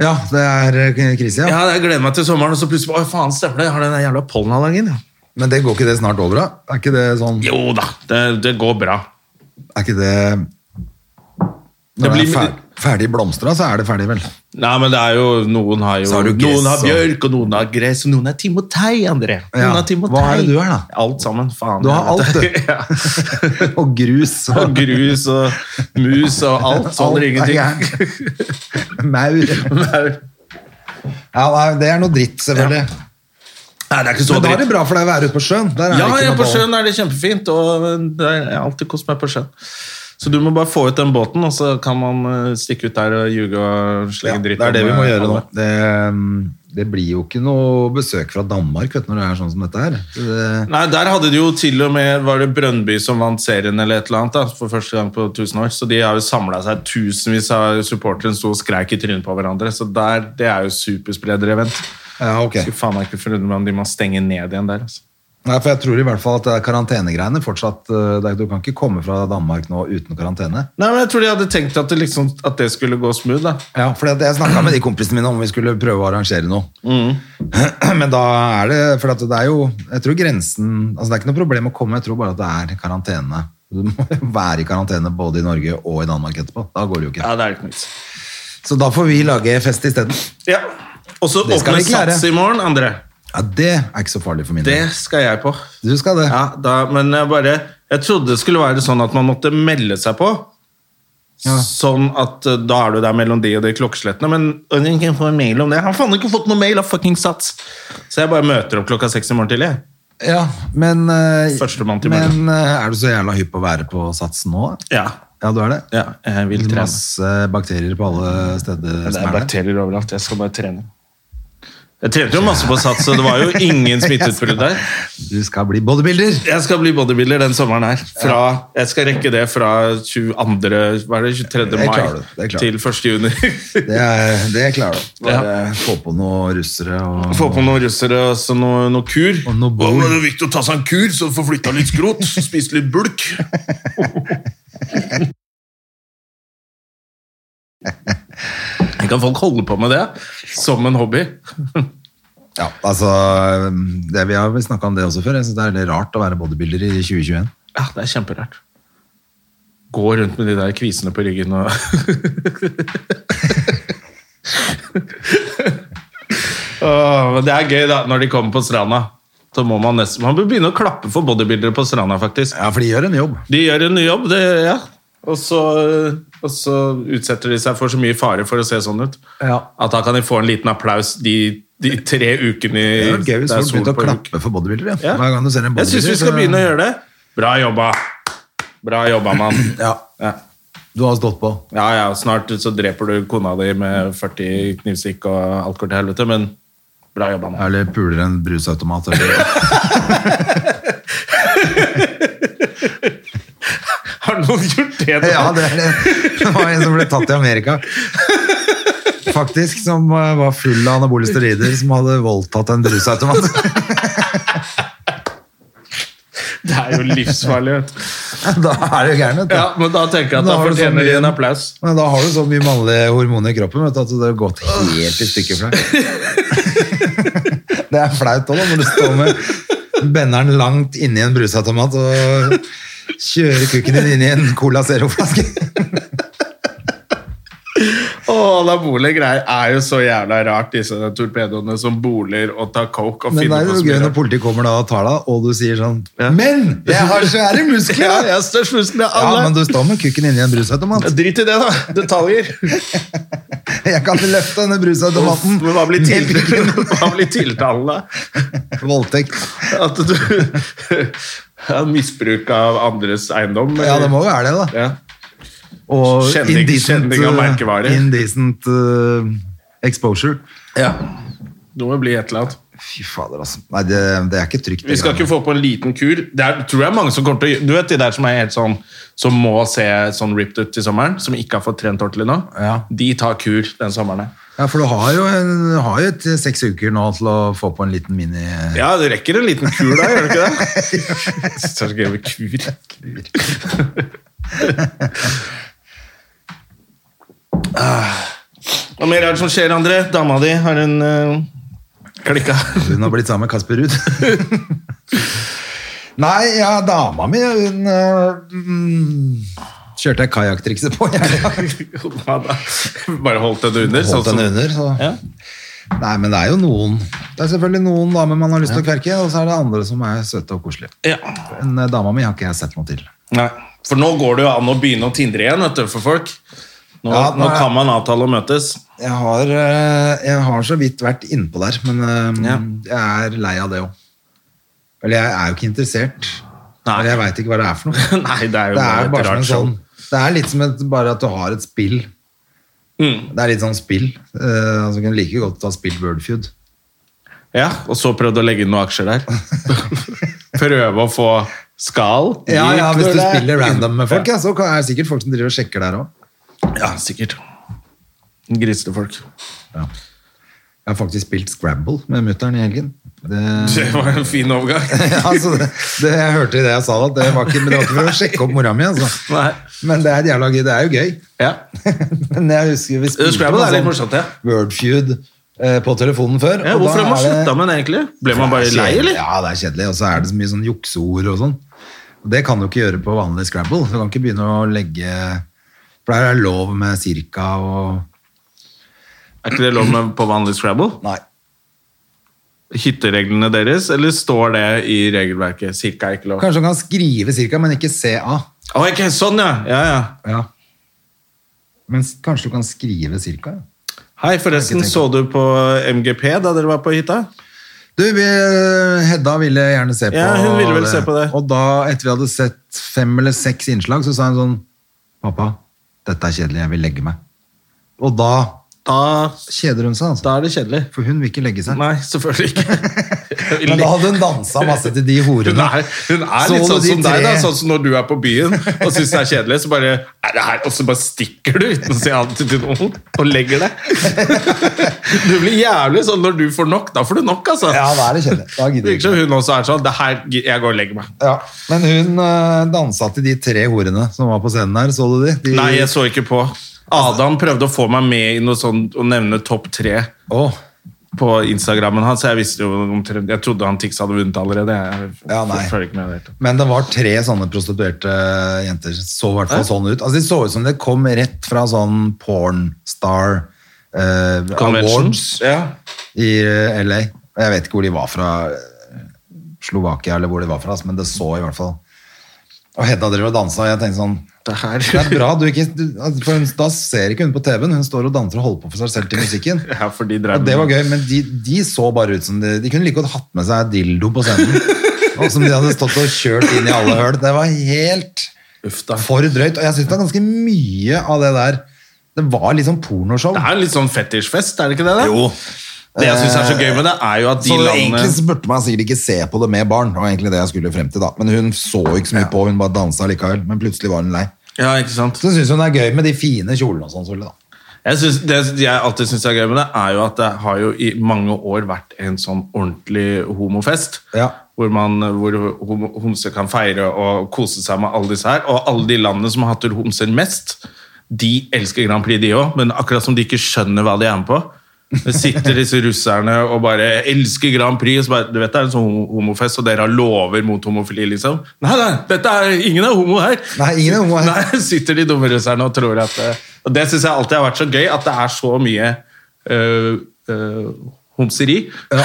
[SPEAKER 2] Ja, det er eh, krise, ja.
[SPEAKER 1] Ja, jeg gleder meg til sommeren, og så plutselig Å, faen, stemmer det. Jeg har den der jævla pollenallergien. ja.
[SPEAKER 2] Men det går ikke det snart over, da? Er ikke det sånn
[SPEAKER 1] Jo da, det, det går bra.
[SPEAKER 2] Er ikke det Når det, er
[SPEAKER 1] blir-
[SPEAKER 2] ferdig, ferdig blomstra, så er det ferdig, vel.
[SPEAKER 1] Nei, men det er jo Noen har jo
[SPEAKER 2] Så har du gress,
[SPEAKER 1] Noen har
[SPEAKER 2] og-
[SPEAKER 1] bjørk, og noen har gress, og noen er Timotei, André.
[SPEAKER 2] Ja,
[SPEAKER 1] Noen har Timotei.
[SPEAKER 2] hva er det du er, da?
[SPEAKER 1] Alt sammen. Faen.
[SPEAKER 2] Du har
[SPEAKER 1] jeg
[SPEAKER 2] alt,
[SPEAKER 1] vet det.
[SPEAKER 2] du. og grus.
[SPEAKER 1] Ja. Og grus og mus og alt. sånn Så holder
[SPEAKER 2] Alt er
[SPEAKER 1] ingenting.
[SPEAKER 2] maur.
[SPEAKER 1] Maur.
[SPEAKER 2] Ja, nei, det er noe dritt, selvfølgelig.
[SPEAKER 1] Nei, det er ikke så
[SPEAKER 2] Men da er det
[SPEAKER 1] dritt.
[SPEAKER 2] bra for deg å være ute på sjøen. Der er
[SPEAKER 1] Ja,
[SPEAKER 2] det ikke
[SPEAKER 1] ja,
[SPEAKER 2] noe
[SPEAKER 1] på
[SPEAKER 2] ball.
[SPEAKER 1] sjøen er det kjempefint, og det er jeg har alltid kost meg på sjøen. Så du må bare få ut den båten, og så kan man eh, stikke ut der og ljuge og
[SPEAKER 2] Ja,
[SPEAKER 1] slenge dritt.
[SPEAKER 2] det er det
[SPEAKER 1] om,
[SPEAKER 2] vi må
[SPEAKER 1] eh,
[SPEAKER 2] gjøre nå.
[SPEAKER 1] alle.
[SPEAKER 2] Det, um, det blir jo ikke noe besøk fra Danmark vet du, når det er sånn som dette her. Så det-
[SPEAKER 1] Nei, der hadde de jo til og med Var det Brøndby som vant serien eller et eller annet da, for første gang på 1000 år. Så de har jo samla seg. Tusenvis av supportere sto og skreik i trynet på hverandre. Så der, det er jo supersprederevent.
[SPEAKER 2] Ja, ok.
[SPEAKER 1] Skulle faen meg ikke forundre meg om de må stenge ned igjen der. Altså.
[SPEAKER 2] Nei, for jeg tror i hvert fall at det er karantenegreiene fortsatt eh, det er- Du kan ikke komme fra Danmark nå uten karantene.
[SPEAKER 1] Nei, men Jeg tror de hadde tenkt at det, liksom, at det skulle gå smooth. da.
[SPEAKER 2] Ja, for jeg snakka med de kompisene mine om vi skulle prøve å arrangere noe.
[SPEAKER 1] Mm.
[SPEAKER 2] Men da er det For at det er jo Jeg tror grensen Altså det er ikke noe problem å komme, jeg tror bare at det er karantene. Du må jo være i karantene både i Norge og i Danmark etterpå. Da går det jo ikke.
[SPEAKER 1] Ja, det er ikke noe vits.
[SPEAKER 2] Så da får vi lage fest isteden.
[SPEAKER 1] Ja. Og så
[SPEAKER 2] Det skal
[SPEAKER 1] åpner
[SPEAKER 2] vi klare.
[SPEAKER 1] Sats i morgen, André.
[SPEAKER 2] Ja, det er ikke så farlig for min
[SPEAKER 1] Det
[SPEAKER 2] del.
[SPEAKER 1] skal jeg på.
[SPEAKER 2] Du skal det.
[SPEAKER 1] Ja, da, Men jeg bare Jeg trodde det skulle være sånn at man måtte melde seg på.
[SPEAKER 2] Ja.
[SPEAKER 1] Sånn at eh, da er du der mellom de og de klokkeslettene. Men jeg kan få en mail om det. Jeg har faen ikke fått noen mail av fucking Sats! Så jeg bare møter opp klokka seks i morgen tidlig.
[SPEAKER 2] Ja, men eh,
[SPEAKER 1] Førstemann til
[SPEAKER 2] men eh, er du så jævla hypp på å være på satsen nå? da?
[SPEAKER 1] Ja.
[SPEAKER 2] Ja, du er det.
[SPEAKER 1] ja jeg vil trene.
[SPEAKER 2] Masse bakterier på alle steder.
[SPEAKER 1] Det
[SPEAKER 2] som der.
[SPEAKER 1] er bakterier overalt. Jeg skal bare trene. Jeg trente jo masse på Sats, så det var jo ingen smitteutbrudd der.
[SPEAKER 2] Du skal bli bodybuilder!
[SPEAKER 1] Jeg skal bli bodybuilder den sommeren her. Fra, jeg skal rekke det fra 22, hva er det, 23.
[SPEAKER 2] Det
[SPEAKER 1] mai
[SPEAKER 2] klarer du, det klarer
[SPEAKER 1] til 1. juni.
[SPEAKER 2] Det, er, det klarer du. Bare få på noe russere og
[SPEAKER 1] Få på noen russere og så noe, noe kur.
[SPEAKER 2] Og noe bord.
[SPEAKER 1] Å, det er viktig å ta seg en kur, så du får flytta litt skrot. Spist litt bulk. Kan folk holde på med det som en hobby?
[SPEAKER 2] Ja, altså det, Vi har snakka om det også før. Jeg synes Det er litt rart å være bodybuilder i 2021.
[SPEAKER 1] Ja, Ah, det er kjemperært. Gå rundt med de der kvisene på ryggen og Åh, men det er gøy, da, når de kommer på stranda. Så må man nesten Man bør begynne å klappe for bodybuildere på stranda, faktisk.
[SPEAKER 2] Ja, for de gjør en jobb.
[SPEAKER 1] De gjør en jobb, det ja. Og så, og så utsetter de seg for så mye fare for å se sånn ut.
[SPEAKER 2] Ja.
[SPEAKER 1] At da kan de få en liten applaus de, de tre ukene
[SPEAKER 2] Det
[SPEAKER 1] i-
[SPEAKER 2] er gøy hvis
[SPEAKER 1] det er
[SPEAKER 2] folk
[SPEAKER 1] sol
[SPEAKER 2] begynte å
[SPEAKER 1] på uken.
[SPEAKER 2] klappe for bodybuildere.
[SPEAKER 1] Ja.
[SPEAKER 2] Hver gang du ser en
[SPEAKER 1] Jeg
[SPEAKER 2] bodybuilder
[SPEAKER 1] syns vi skal
[SPEAKER 2] så-
[SPEAKER 1] begynne å gjøre det. Bra jobba. Bra jobba, mann.
[SPEAKER 2] Ja,
[SPEAKER 1] Ja.
[SPEAKER 2] Du har stått på.
[SPEAKER 1] ja ja, snart så dreper du kona di med 40 knivstikk og alt går til helvete, men bra jobba, mann.
[SPEAKER 2] Eller puler en brusautomat. Eller.
[SPEAKER 1] Har noen gjort det? da?
[SPEAKER 2] Ja, det, er det. det var en som ble tatt i Amerika. Faktisk, som eh, var full av anabole steroider, som hadde voldtatt en brusautomat.
[SPEAKER 1] det er jo livsfarlig. Vet. du.
[SPEAKER 2] Da er det gærent.
[SPEAKER 1] Ja, men da tenker jeg at da
[SPEAKER 2] har du sånn så
[SPEAKER 1] fortjener de
[SPEAKER 2] mye-
[SPEAKER 1] en applaus.
[SPEAKER 2] Men da har du så mye mannlige hormoner i kroppen vet du, at det har gått helt i stykker for deg. Det er flaut òg, når du står med benneren langt inni en brusautomat og Kjøre kukken din inn i en Cola Zero-flaske.
[SPEAKER 1] Åh, anabole greier er jo så jævla rart, disse torpedoene som boler og tar coke og
[SPEAKER 2] Men det
[SPEAKER 1] finner
[SPEAKER 2] er
[SPEAKER 1] på
[SPEAKER 2] jo
[SPEAKER 1] så
[SPEAKER 2] gøy
[SPEAKER 1] mye
[SPEAKER 2] når
[SPEAKER 1] rart.
[SPEAKER 2] politiet kommer da og tar deg, og du sier sånn
[SPEAKER 1] Ja.
[SPEAKER 2] Men! Jeg har svære muskler!
[SPEAKER 1] Ja, jeg har størst muskler av
[SPEAKER 2] Ja,
[SPEAKER 1] alle.
[SPEAKER 2] men du står med kukken inni en brusautomat.
[SPEAKER 1] Ja, Drit i det, da. Detaljer.
[SPEAKER 2] Jeg kan ikke løfte denne brusautomaten.
[SPEAKER 1] Men hva blir
[SPEAKER 2] med
[SPEAKER 1] til-
[SPEAKER 2] kukken.
[SPEAKER 1] hva blir tiltalen, da?
[SPEAKER 2] Voldtekt.
[SPEAKER 1] At du ja, Misbruk av andres eiendom?
[SPEAKER 2] Ja, det må jo være det, da.
[SPEAKER 1] ja.
[SPEAKER 2] Og
[SPEAKER 1] Kjenning- kjenning av merkevarer.
[SPEAKER 2] uh, indecent uh, exposure.
[SPEAKER 1] ja. Det må bli et eller annet.
[SPEAKER 2] Fy fader, altså. Nei, det, det er ikke trygt.
[SPEAKER 1] Vi skal
[SPEAKER 2] det
[SPEAKER 1] ikke
[SPEAKER 2] greiene.
[SPEAKER 1] få på en liten kur. Det er, tror jeg mange som kommer til å gjøre- Du vet de der som er helt sånn Som må se sånn ripped ut til sommeren, som ikke har fått trent ordentlig nå?
[SPEAKER 2] Ja.
[SPEAKER 1] De tar kur den sommeren. her.
[SPEAKER 2] Ja, For du har jo, en, du har jo et, eh, seks uker nå til å få på en liten mini... eh,
[SPEAKER 1] Ja, det rekker en liten kur da, gjør det ikke det? Så er det gøy med kur. Ah. Hva mer er det som skjer, André? Dama di har en uh, klikka.
[SPEAKER 2] Hun har blitt sammen med Kasper Ruud. Nei, ja, dama mi, hun øh, mm, Kjørte jeg kajakktrikset på? Jeg
[SPEAKER 1] Hva da? Bare holdt henne under. sånn
[SPEAKER 2] holdt
[SPEAKER 1] som-
[SPEAKER 2] henne under, så.
[SPEAKER 1] Ja.
[SPEAKER 2] Nei, men det er jo noen. Det er selvfølgelig noen damer man har lyst til å kverke, og så er det andre som er søte og koselige.
[SPEAKER 1] Ja.
[SPEAKER 2] Men øh, dama mi har ikke jeg sett noe til.
[SPEAKER 1] Nei. For nå går det jo an å begynne å tindre igjen vet du, for folk. Nå,
[SPEAKER 2] Ja,
[SPEAKER 1] nå
[SPEAKER 2] nei.
[SPEAKER 1] kan man avtale å møtes.
[SPEAKER 2] Jeg har, øh, jeg har så vidt vært innpå der, men øh,
[SPEAKER 1] Ja.
[SPEAKER 2] jeg er lei av det òg. Eller jeg er jo ikke interessert.
[SPEAKER 1] Nei.
[SPEAKER 2] Eller jeg veit ikke hva det er for noe.
[SPEAKER 1] Nei, det er jo
[SPEAKER 2] Det
[SPEAKER 1] bare
[SPEAKER 2] er
[SPEAKER 1] et
[SPEAKER 2] bare som
[SPEAKER 1] rart
[SPEAKER 2] en
[SPEAKER 1] show.
[SPEAKER 2] sånn Det er litt som et, bare at du har et spill.
[SPEAKER 1] Mm.
[SPEAKER 2] Det er litt sånn spill. Eh, altså, du kan like godt ha spilt Wordfeud.
[SPEAKER 1] Ja, og så prøvde å legge inn noen aksjer der. Prøve å få skal.
[SPEAKER 2] Ja, ja, hvis du
[SPEAKER 1] Gikk det?
[SPEAKER 2] spiller random med folk, ja, så er det sikkert folk som driver og sjekker der òg.
[SPEAKER 1] Ja, sikkert. Grisete folk.
[SPEAKER 2] Jeg har faktisk spilt Scrabble med mutter'n i helgen. Det,
[SPEAKER 1] Det var en fin overgang.
[SPEAKER 2] ja, altså, det, det, jeg hørte i det jeg sa, at det var ikke, men det var ikke for å sjekke opp mora mi. Altså.
[SPEAKER 1] Nei.
[SPEAKER 2] Men det er, jævla, gøy, det er jo gøy.
[SPEAKER 1] Ja.
[SPEAKER 2] Men jeg husker vi spilte
[SPEAKER 1] Scrabble
[SPEAKER 2] med
[SPEAKER 1] er litt
[SPEAKER 2] sånn
[SPEAKER 1] morsomt, ja.
[SPEAKER 2] Wordfeud eh, på telefonen før.
[SPEAKER 1] Ja,
[SPEAKER 2] og da
[SPEAKER 1] hvorfor har man
[SPEAKER 2] er det-
[SPEAKER 1] slutta med det, egentlig? Ble man
[SPEAKER 2] Det
[SPEAKER 1] bare
[SPEAKER 2] er
[SPEAKER 1] lei,
[SPEAKER 2] kjedelig.
[SPEAKER 1] eller?
[SPEAKER 2] Ja, det er kjedelig, og så er det så mye sånn jukseord og sånn. Og Det kan du ikke gjøre på vanlig Scrabble. Du kan ikke begynne å legge For der er det lov med cirka og
[SPEAKER 1] Er ikke det lov med på vanlig Scrabble?
[SPEAKER 2] Nei.
[SPEAKER 1] Hyttereglene deres, eller står det i regelverket? Cirka er ikke lov.
[SPEAKER 2] Kanskje du kan skrive cirka, men ikke CA.
[SPEAKER 1] Å, ok, sånn, ja. ja, ja.
[SPEAKER 2] Ja. Men s- kanskje du kan skrive cirka? ja.
[SPEAKER 1] Hei, forresten,
[SPEAKER 2] Jeg har ikke tenkt
[SPEAKER 1] så du på MGP da dere var på hytta?
[SPEAKER 2] Du, vi, eh, Hedda ville gjerne se på
[SPEAKER 1] Ja, hun ville vel se på det.
[SPEAKER 2] Og da, etter vi hadde sett fem eller seks innslag, så sa hun sånn Pappa, dette er kjedelig, jeg vil legge meg. Og da
[SPEAKER 1] Da,
[SPEAKER 2] kjeder hun seg, altså.
[SPEAKER 1] da er det kjedelig.
[SPEAKER 2] For hun vil ikke legge seg.
[SPEAKER 1] Nei, selvfølgelig ikke.
[SPEAKER 2] Men da hadde hun dansa masse til de
[SPEAKER 1] Hun
[SPEAKER 2] horene.
[SPEAKER 1] er, hun er
[SPEAKER 2] Så
[SPEAKER 1] litt
[SPEAKER 2] du
[SPEAKER 1] sånn
[SPEAKER 2] de
[SPEAKER 1] som deg, da.
[SPEAKER 2] tre-
[SPEAKER 1] Sånn som når du er på byen og syns det er kjedelig, så bare er det her, Og så bare stikker du uten å si alltid til noen og legger deg. Du blir jævlig sånn når du får nok. Da får du nok, altså.
[SPEAKER 2] Ja, da er det kjedelig. Da
[SPEAKER 1] Det
[SPEAKER 2] gidder jeg
[SPEAKER 1] virker
[SPEAKER 2] ikke.
[SPEAKER 1] som hun også er sånn. Det her, jeg går og legger meg.
[SPEAKER 2] Ja. Men hun eh, dansa til de tre horene som var på scenen her, så du de? de
[SPEAKER 1] Nei, jeg så ikke på.
[SPEAKER 2] Altså-
[SPEAKER 1] Adam prøvde å få meg med i noe sånn og nevne topp tre
[SPEAKER 2] Å,
[SPEAKER 1] på Instagrammen hans. Jeg visste jo omtrent Jeg trodde han Tix hadde vunnet allerede. Jeg
[SPEAKER 2] Ja, nei.
[SPEAKER 1] følger ikke med i det hele tatt.
[SPEAKER 2] Men det var tre sånne prostituerte jenter. Så i hvert fall sånn ut. Altså, de så ut som det kom rett fra sånn pornstar eh, awards
[SPEAKER 1] Conventions. Ja.
[SPEAKER 2] i eh, LA. Og Jeg vet ikke hvor de var fra. eh, Slovakia eller hvor de var fra, altså, men det så i hvert fall Og Hedda drev og dansa, og jeg tenkte sånn
[SPEAKER 1] Det her
[SPEAKER 2] Det er bra, du ikke, du, altså, for hun, da ser ikke hun på TV-en, hun står og danser og holder på for seg selv til musikken.
[SPEAKER 1] Ja, for de drev
[SPEAKER 2] Og det var gøy, men de, de så bare ut som de, de kunne like godt hatt med seg dildo på scenen. Og som de hadde stått og kjørt inn i alle høl. Det var helt
[SPEAKER 1] Uff, da.
[SPEAKER 2] for drøyt. Og jeg syns det var ganske mye av det der. Det var litt sånn pornoshow.
[SPEAKER 1] Det er jo litt sånn fetisjfest, er det ikke det? Da?
[SPEAKER 2] Jo. Eh,
[SPEAKER 1] Det jeg syns er så gøy med det, er jo at de
[SPEAKER 2] så
[SPEAKER 1] landene
[SPEAKER 2] egentlig så burde man sikkert ikke se på det med barn. Det var egentlig det jeg skulle frem til da. Men hun så ikke så mye på, hun bare dansa likevel. Men plutselig var hun lei.
[SPEAKER 1] Ja, ikke sant?
[SPEAKER 2] Så syns hun det er gøy med de fine kjolene og sånn, Solli, da.
[SPEAKER 1] Jeg synes, det jeg alltid syns er gøy med det, er jo at det har jo i mange år vært en sånn ordentlig homofest.
[SPEAKER 2] Ja.
[SPEAKER 1] Hvor, man, hvor hom- homser kan feire og kose seg med alle disse her. Og alle de landene som har hatt homser mest, de elsker Grand Prix, de òg. Men akkurat som de ikke skjønner hva de er med på, Det sitter disse russerne og bare elsker Grand Prix. Og så bare, du vet det er en sånn homo- homofest, og dere har lover mot homofili, liksom. Nei, nei, dette er, ingen er homo her!
[SPEAKER 2] Nei, ingen er homo her.
[SPEAKER 1] Nei, sitter de dumme russerne og tror at eh, Og det syns jeg alltid har vært så gøy, at det er så mye øh, øh, homseri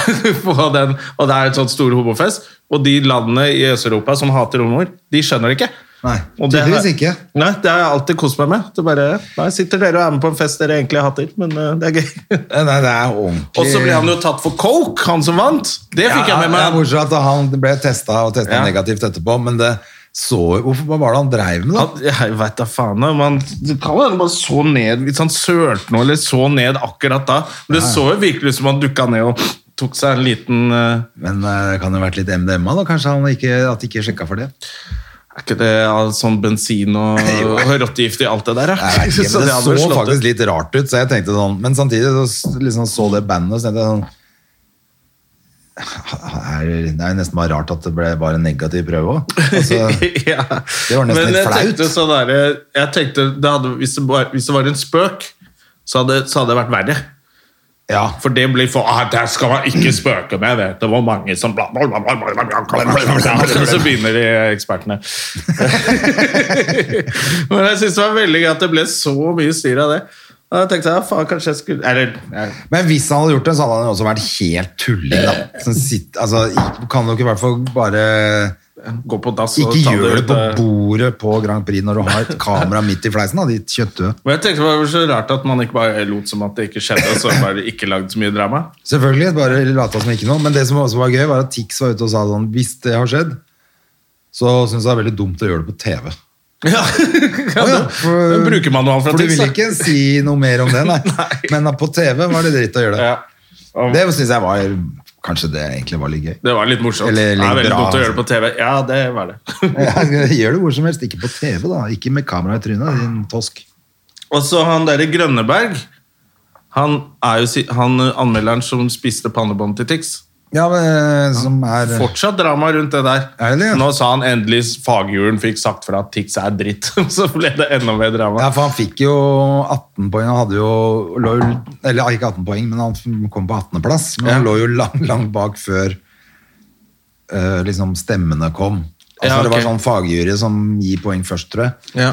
[SPEAKER 1] på den, og det er et sånt stor homofest. Og de landene i Øst-Europa som hater homoer, de skjønner det ikke.
[SPEAKER 2] Nei,
[SPEAKER 1] Og det har-
[SPEAKER 2] tydeligvis ikke.
[SPEAKER 1] Nei, det har jeg alltid kost meg med. Det er bare, nei, sitter dere og er med på en fest dere egentlig hater, men eh, det er gøy.
[SPEAKER 2] Nei, det er ordentlig
[SPEAKER 1] Og så ble han jo tatt for coke, han som vant. Det fikk jeg
[SPEAKER 2] Ja, det
[SPEAKER 1] med
[SPEAKER 2] er
[SPEAKER 1] meg.
[SPEAKER 2] bortsett at han ble testa og testa
[SPEAKER 1] Ja.
[SPEAKER 2] negativt etterpå, men det så Hvorfor hva var det han dreiv med, da?
[SPEAKER 1] Han- Jeg veit da faen. om han- Det kan være han bare så ned hvis han sølte noe, eller så ned akkurat da. Men det så jo virkelig ut som han dukka ned og tok seg en liten eh,
[SPEAKER 2] Men eh, det kan jo ha vært litt MDMA, da. Kanskje han ikke, at de ikke sjekka for det.
[SPEAKER 1] Er ikke det ja, sånn bensin og, og rottegift i alt det der, da?
[SPEAKER 2] Jeg vet ikke,
[SPEAKER 1] Så
[SPEAKER 2] men det
[SPEAKER 1] hadde
[SPEAKER 2] så
[SPEAKER 1] vel slått
[SPEAKER 2] faktisk
[SPEAKER 1] ut.
[SPEAKER 2] litt rart ut, så jeg tenkte sånn Men samtidig så s- liksom så det bandet, og så tenkte jeg sånn er, Det er jo nesten bare rart at det ble bare en negativ prøve òg. Altså,
[SPEAKER 1] ja.
[SPEAKER 2] Det var nesten
[SPEAKER 1] Men
[SPEAKER 2] litt
[SPEAKER 1] jeg
[SPEAKER 2] flaut.
[SPEAKER 1] Tenkte sånn der, jeg tenkte det hadde, hvis, det var, hvis det var en spøk, så hadde, så hadde det vært verre.
[SPEAKER 2] ja.
[SPEAKER 1] For det blir for ah, Der skal man ikke spøke med, vet du. Hvor mange som bla, bla, bla, bla, bla, bla, bla, bla, bla. Så begynner de
[SPEAKER 2] eh,
[SPEAKER 1] ekspertene. Men jeg syns det var veldig gøy at det ble så mye styr av det. Og jeg tenkte jeg, faen, kanskje jeg skulle Eller ja.
[SPEAKER 2] Men hvis han hadde gjort det, så hadde han jo også vært helt tulling, da. Som sitt- altså, i- kan dere i hvert fall bare
[SPEAKER 1] gå på dass og
[SPEAKER 2] Ikke
[SPEAKER 1] ta
[SPEAKER 2] gjør det
[SPEAKER 1] ut,
[SPEAKER 2] på
[SPEAKER 1] eh.
[SPEAKER 2] bordet på Grand Prix når du har et kamera midt i fleisen, da, ditt kjøtthue.
[SPEAKER 1] Men jeg tenkte det var så rart at man ikke bare lot som at det ikke skjedde, og så bare ikke lagd så mye drama.
[SPEAKER 2] Selvfølgelig, bare lata som ikke noe. Men det som også var gøy, var at Tix var ute og sa sånn Hvis det har skjedd, så syns jeg det er veldig dumt å gjøre det på TV.
[SPEAKER 1] Ja, ja,
[SPEAKER 2] Å ja,
[SPEAKER 1] det- det bruker man jo alt fra
[SPEAKER 2] For du
[SPEAKER 1] tips,
[SPEAKER 2] vil
[SPEAKER 1] da.
[SPEAKER 2] ikke si noe mer om det, nei. Men på TV var det dritt å gjøre det.
[SPEAKER 1] Ja. Og
[SPEAKER 2] Det syns jeg var Kanskje det egentlig var litt gøy.
[SPEAKER 1] Det var litt morsomt.
[SPEAKER 2] Eller
[SPEAKER 1] det er
[SPEAKER 2] litt
[SPEAKER 1] veldig
[SPEAKER 2] bra,
[SPEAKER 1] dumt å gjøre
[SPEAKER 2] altså.
[SPEAKER 1] det på TV. Ja, det var det.
[SPEAKER 2] Gjør det hvor som helst, ikke på TV, da. Ikke med kamera i trynet, din tosk.
[SPEAKER 1] Og så han derre Grønneberg han er jo si- han eh, anmelderen som spiste pannebånd til Tix.
[SPEAKER 2] Ja, men, eh, som er
[SPEAKER 1] Fortsatt drama rundt det der.
[SPEAKER 2] Er det det?
[SPEAKER 1] Nå sa han endelig fagjulen fikk sagt fra at Tix er dritt. Så ble det enda mer drama.
[SPEAKER 2] Ja, for han fikk jo 18 poeng. Han hadde jo lå, jo- Eller ikke 18 poeng, men han kom på 18.-plass. Men han
[SPEAKER 1] Ja.
[SPEAKER 2] lå jo langt, langt bak før eh, liksom stemmene kom. Altså,
[SPEAKER 1] Ja,
[SPEAKER 2] Det var
[SPEAKER 1] ok.
[SPEAKER 2] sånn fagjury som gir poeng først, tror jeg.
[SPEAKER 1] Ja.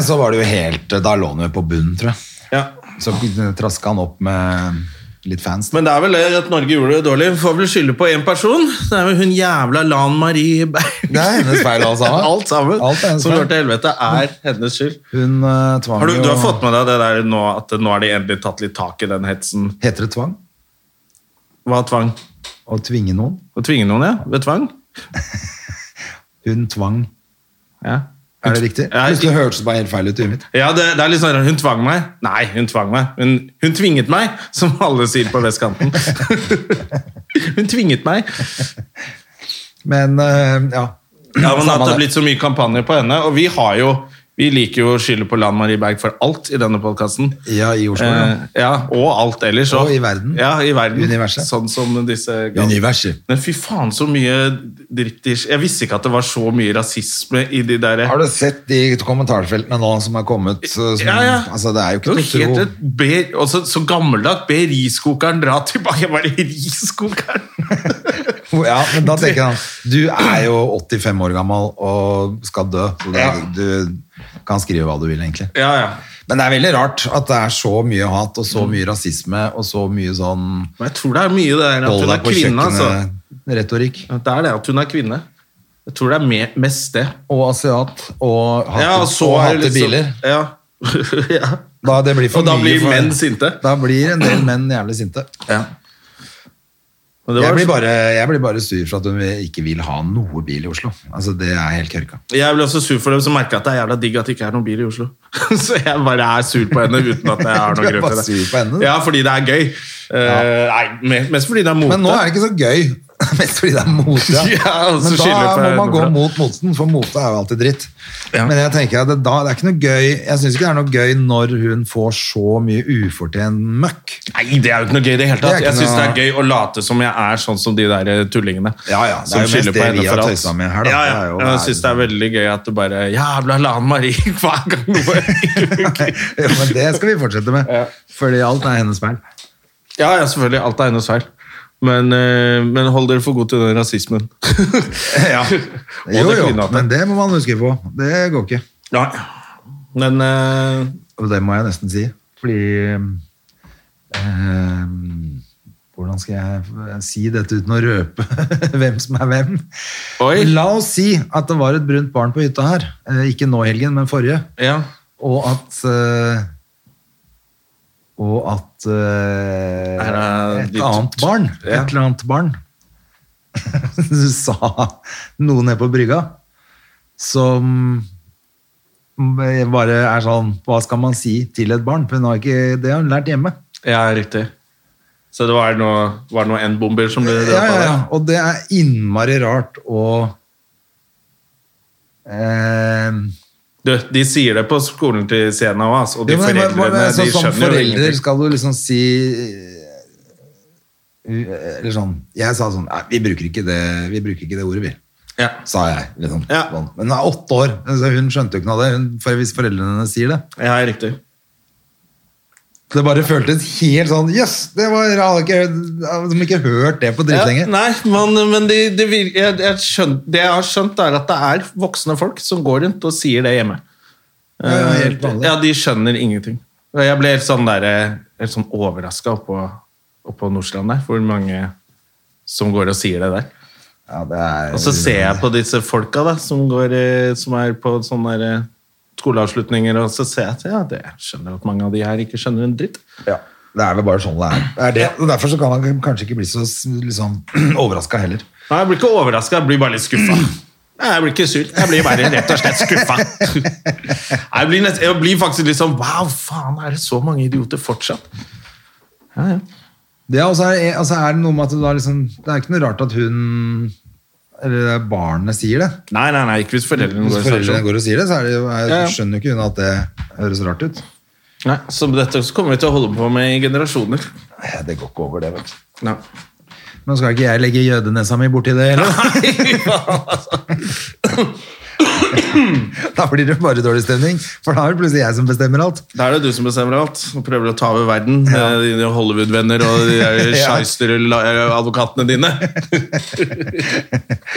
[SPEAKER 2] Så var det jo helt eh, Da lå han jo på bunnen, tror jeg. Så traska han opp med litt fans.
[SPEAKER 1] Men det er vel det at Norge gjorde det dårlig. Får vel skylde på én person. Det er vel hun jævla Lan Marie Berg.
[SPEAKER 2] Det er hennes feil, alt sammen.
[SPEAKER 1] altså. Alt sammen.
[SPEAKER 2] Alt er hennes
[SPEAKER 1] som
[SPEAKER 2] feil.
[SPEAKER 1] går til helvete, er hennes skyld.
[SPEAKER 2] Hun eh, tvang
[SPEAKER 1] Har du,
[SPEAKER 2] jo
[SPEAKER 1] du har fått med deg det der nå, at nå har de endelig tatt litt tak i den hetsen?
[SPEAKER 2] Heter det tvang?
[SPEAKER 1] Hva er tvang?
[SPEAKER 2] Å tvinge noen?
[SPEAKER 1] Å tvinge noen, ja? Ved tvang?
[SPEAKER 2] Hun tvang.
[SPEAKER 1] Ja,
[SPEAKER 2] Er det riktig?
[SPEAKER 1] Ja,
[SPEAKER 2] Plutselig hørtes det bare helt feil ut i huet mitt.
[SPEAKER 1] ja det, det er litt sånn rart. Hun tvang meg. Nei, hun tvang meg. Hun, hun tvinget meg, som alle sier på vestkanten. hun tvinget meg.
[SPEAKER 2] Men eh, ja.
[SPEAKER 1] Ja, men
[SPEAKER 2] Samme
[SPEAKER 1] At det
[SPEAKER 2] det.
[SPEAKER 1] har blitt så mye kampanjer på henne. Og vi har jo vi liker jo å skylde på Lan Marie Berg for alt i denne podkasten.
[SPEAKER 2] Ja, i Oslo, ja.
[SPEAKER 1] Eh, ja, og alt ellers.
[SPEAKER 2] Og i verden.
[SPEAKER 1] Ja, i verden.
[SPEAKER 2] Universet.
[SPEAKER 1] Sånn som disse
[SPEAKER 2] Universet.
[SPEAKER 1] Men fy faen, så mye dritt de Jeg visste ikke at det var så mye rasisme i de der
[SPEAKER 2] Har du sett de kommentarfeltene nå som er kommet? så- Som,
[SPEAKER 1] Ja, ja.
[SPEAKER 2] Altså, det er jo ikke
[SPEAKER 1] Det var
[SPEAKER 2] til å
[SPEAKER 1] helt
[SPEAKER 2] tro.
[SPEAKER 1] et be- også, Så gammeldags. Be riskokeren dra tilbake. Jeg bare Riskokeren!
[SPEAKER 2] Ja, men da tenker han Du er jo 85 år gammel og skal dø. Så det,
[SPEAKER 1] Ja.
[SPEAKER 2] Du kan skrive hva du vil, egentlig.
[SPEAKER 1] ja, ja.
[SPEAKER 2] Men det er veldig rart at det er så mye hat og
[SPEAKER 1] Mm.
[SPEAKER 2] så mye rasisme og så mye sånn
[SPEAKER 1] Men jeg tror det er mye det der at
[SPEAKER 2] hold
[SPEAKER 1] hun
[SPEAKER 2] deg
[SPEAKER 1] er
[SPEAKER 2] på
[SPEAKER 1] kvinne. Altså.
[SPEAKER 2] kjøkkenet-retorikk.
[SPEAKER 1] At Det er det at hun er kvinne. Jeg tror det er me- mest det.
[SPEAKER 2] Og asiat og hate,
[SPEAKER 1] Ja, og så
[SPEAKER 2] og
[SPEAKER 1] er
[SPEAKER 2] hate
[SPEAKER 1] det liksom-
[SPEAKER 2] biler.
[SPEAKER 1] Ja. ja.
[SPEAKER 2] Da, det blir for
[SPEAKER 1] Og da
[SPEAKER 2] mye
[SPEAKER 1] blir
[SPEAKER 2] for-
[SPEAKER 1] menn sinte.
[SPEAKER 2] Da blir en del menn jævlig sinte.
[SPEAKER 1] ja. Og det
[SPEAKER 2] Jeg
[SPEAKER 1] var-
[SPEAKER 2] blir, bare, jeg blir bare sur for at hun ikke vil ha noe bil i Oslo. Altså, det er helt kørka.
[SPEAKER 1] Jeg blir også sur for dem som merker at det er jævla digg at det ikke er noen bil i Oslo. Så jeg bare er sur på henne uten at jeg har
[SPEAKER 2] Du er
[SPEAKER 1] noen grunn
[SPEAKER 2] bare
[SPEAKER 1] til det.
[SPEAKER 2] sur på henne, du.
[SPEAKER 1] Ja, fordi det er gøy. Eh, Nei, me- mest fordi det er mote.
[SPEAKER 2] Men nå er det ikke så gøy Mest fordi det er mote. ja.
[SPEAKER 1] Ja, altså, og så
[SPEAKER 2] Men
[SPEAKER 1] skylder
[SPEAKER 2] da
[SPEAKER 1] på
[SPEAKER 2] må man gå
[SPEAKER 1] Nordland.
[SPEAKER 2] mot moten, for mote er jo alltid dritt.
[SPEAKER 1] Ja.
[SPEAKER 2] Men jeg tenker at det, da, det er ikke noe gøy Jeg syns ikke det er noe gøy når hun får så mye ufortjent møkk.
[SPEAKER 1] Nei, det er jo ikke noe gøy i det hele
[SPEAKER 2] Det er
[SPEAKER 1] tatt.
[SPEAKER 2] ikke
[SPEAKER 1] Jeg syns det
[SPEAKER 2] noe-
[SPEAKER 1] er gøy å late som jeg er sånn som de der eh, tullingene.
[SPEAKER 2] Ja, ja, det
[SPEAKER 1] som
[SPEAKER 2] er jo mest
[SPEAKER 1] skylder på
[SPEAKER 2] det
[SPEAKER 1] henne
[SPEAKER 2] vi har
[SPEAKER 1] for alt.
[SPEAKER 2] tøysa med her, da.
[SPEAKER 1] Ja, ja.
[SPEAKER 2] Det er jo-
[SPEAKER 1] Jeg syns det er veldig gøy at du bare Jævla Lan Marie hver gang noe ikke funker.
[SPEAKER 2] Eh, jo, men det skal vi fortsette med. Fordi alt er hennes feil.
[SPEAKER 1] Ja, ja, selvfølgelig. Alt er hennes feil. Men, eh, men hold dere for god til den rasismen.
[SPEAKER 2] Ja.
[SPEAKER 1] Og
[SPEAKER 2] Jo,
[SPEAKER 1] det
[SPEAKER 2] jo,
[SPEAKER 1] kvinnehatet.
[SPEAKER 2] men det må man huske på. Det går ikke.
[SPEAKER 1] Nei. Men eh,
[SPEAKER 2] Og det må jeg nesten si. Fordi ehm, Hvordan skal jeg si dette uten å røpe hvem som er hvem?
[SPEAKER 1] Oi.
[SPEAKER 2] La oss si at det var et brunt barn på hytta her. Eh, Ikke nå i helgen, men forrige.
[SPEAKER 1] ja.
[SPEAKER 2] Og at eh, Og at eh,
[SPEAKER 1] Er det
[SPEAKER 2] Et
[SPEAKER 1] litt-
[SPEAKER 2] annet barn. Et
[SPEAKER 1] Ja.
[SPEAKER 2] eller annet barn. Du sa noe nede på brygga som bare er sånn Hva skal man si til et barn? For hun har ikke, det har hun lært hjemme.
[SPEAKER 1] ja, riktig. Så det var noe, var det noe N-bomber som ble
[SPEAKER 2] Ja, ja,
[SPEAKER 1] drept av
[SPEAKER 2] ja.
[SPEAKER 1] deg?
[SPEAKER 2] Og det er innmari rart å eh,
[SPEAKER 1] Du, de sier det på skolen til Siena òg, altså. Og de
[SPEAKER 2] Jo, men,
[SPEAKER 1] foreldrene
[SPEAKER 2] men, men, så,
[SPEAKER 1] de
[SPEAKER 2] sånn som
[SPEAKER 1] skjønner jo
[SPEAKER 2] forelder
[SPEAKER 1] ingenting.
[SPEAKER 2] skal du liksom si eh, Eller sånn Jeg sa sånn Nei, vi bruker ikke det, vi bruker ikke det ordet, vi.
[SPEAKER 1] Ja.
[SPEAKER 2] Sa jeg. Liksom.
[SPEAKER 1] Ja.
[SPEAKER 2] Sånn. Men hun er åtte år, så hun skjønte jo ikke noe av det. Hun, for hvis foreldrene hennes sier det.
[SPEAKER 1] ja, riktig.
[SPEAKER 2] Det bare føltes helt sånn Jøss! Yes, det var jeg hadde ikke, hørt- jeg hadde ikke hørt det på dritlenge.
[SPEAKER 1] Ja, nei, men, men de, de vil, jeg, jeg skjøn- det jeg har skjønt, er at det er voksne folk som går rundt og sier det hjemme. Eh,
[SPEAKER 2] Ja, ja, helt vanlig.
[SPEAKER 1] ja, de skjønner ingenting. Og Jeg ble helt sånn, der, eh, helt sånn overraska oppå, oppå Nordstrand der, hvor mange som går og sier det der.
[SPEAKER 2] Ja, det er-
[SPEAKER 1] Og så ser jeg på disse folka da, som, går, eh, som er på sånne der, eh, skoleavslutninger, og så ser jeg at ja, det skjønner at mange av de her ikke skjønner en dritt.
[SPEAKER 2] Ja, det er vel bare sånn det er. det er det. Og derfor så kan man kanskje ikke bli så liksom, overraska heller.
[SPEAKER 1] Nei, jeg blir ikke overraska, jeg blir bare litt skuffa. Nei, Jeg blir ikke sur, jeg blir bare rett og slett skuffa. Nei, Jeg, blir nest- jeg blir faktisk litt sånn Wow, faen, er det så mange idioter fortsatt? Ja, ja.
[SPEAKER 2] Det er, også, altså er det noe med at det, da liksom, det er ikke noe rart at hun eller det er barnet sier det.
[SPEAKER 1] Nei, nei, nei, ikke hvis foreldrene går
[SPEAKER 2] Hvis
[SPEAKER 1] og sier
[SPEAKER 2] foreldrene
[SPEAKER 1] sånn.
[SPEAKER 2] går og sier det, så er det, jo- er,
[SPEAKER 1] Ja, ja.
[SPEAKER 2] skjønner jo ikke hun at det høres rart ut.
[SPEAKER 1] Nei, så dette kommer vi til å holde på med i generasjoner.
[SPEAKER 2] Nei, Det går ikke over, det. vet du.
[SPEAKER 1] Nei.
[SPEAKER 2] Men skal ikke jeg legge jødenesa mi borti det heller? altså. da blir det bare dårlig stemning, for da er det plutselig jeg som bestemmer alt.
[SPEAKER 1] Da er det du som bestemmer alt og prøver å ta over verden med dine Hollywood-venner og de der
[SPEAKER 2] Ja.
[SPEAKER 1] shyster-advokatene eh, dine.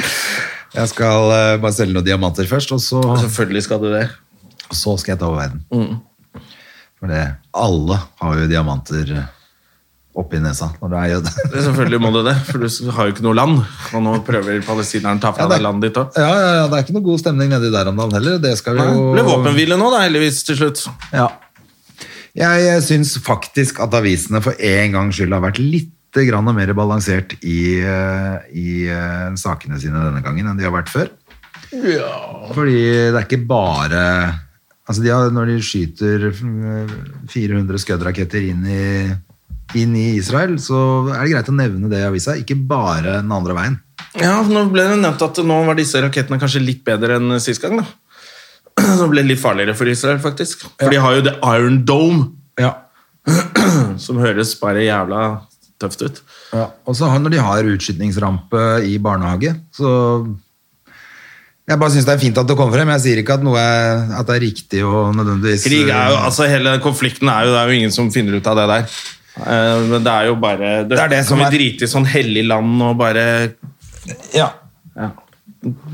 [SPEAKER 2] Jeg skal eh, bare selge noen diamanter først, og så,
[SPEAKER 1] Og Selvfølgelig skal du det.
[SPEAKER 2] og så skal jeg ta over verden.
[SPEAKER 1] Mm.
[SPEAKER 2] For det, alle har jo diamanter oppi nesa når du er jøde.
[SPEAKER 1] Selvfølgelig må du det, for du har jo ikke noe land. Og nå prøver palestinerne å ta fra
[SPEAKER 2] Ja, det-
[SPEAKER 1] deg landet ditt òg.
[SPEAKER 2] Ja, ja, ja, det er ikke noe god stemning nedi der om dagen heller. Det skal vi
[SPEAKER 1] Det
[SPEAKER 2] jo...
[SPEAKER 1] ble våpenhvile nå, da, heldigvis, til slutt.
[SPEAKER 2] Ja. Jeg eh, syns faktisk at avisene for en gangs skyld har vært litt grann mer balansert i, eh, i eh, sakene sine denne gangen enn de har vært før. Fordi det er ikke bare Altså, de har, når de skyter eh, 400 Scud-raketter inn i inn i Israel, så er det greit å nevne det i avisa, ikke bare den andre veien.
[SPEAKER 1] Ja, Nå ble det nevnt at nå var disse rakettene kanskje litt bedre enn sist gang. da. Så ble det litt farligere for Israel, faktisk. For de har jo The Iron Dome, som høres bare jævla tøft ut.
[SPEAKER 2] Ja, og så har- når de har utskytningsrampe i barnehage, så Jeg bare syns det er fint at det kommer frem. Jeg sier ikke at noe er, at det er riktig og nødvendigvis
[SPEAKER 1] Krig er jo, altså Hele konflikten er jo Det er jo ingen som finner ut av det der. Eh, Men det er jo bare det,
[SPEAKER 2] er det
[SPEAKER 1] Kan
[SPEAKER 2] som
[SPEAKER 1] vi
[SPEAKER 2] er-
[SPEAKER 1] drite i sånn hellig land og bare
[SPEAKER 2] Ja.
[SPEAKER 1] ja.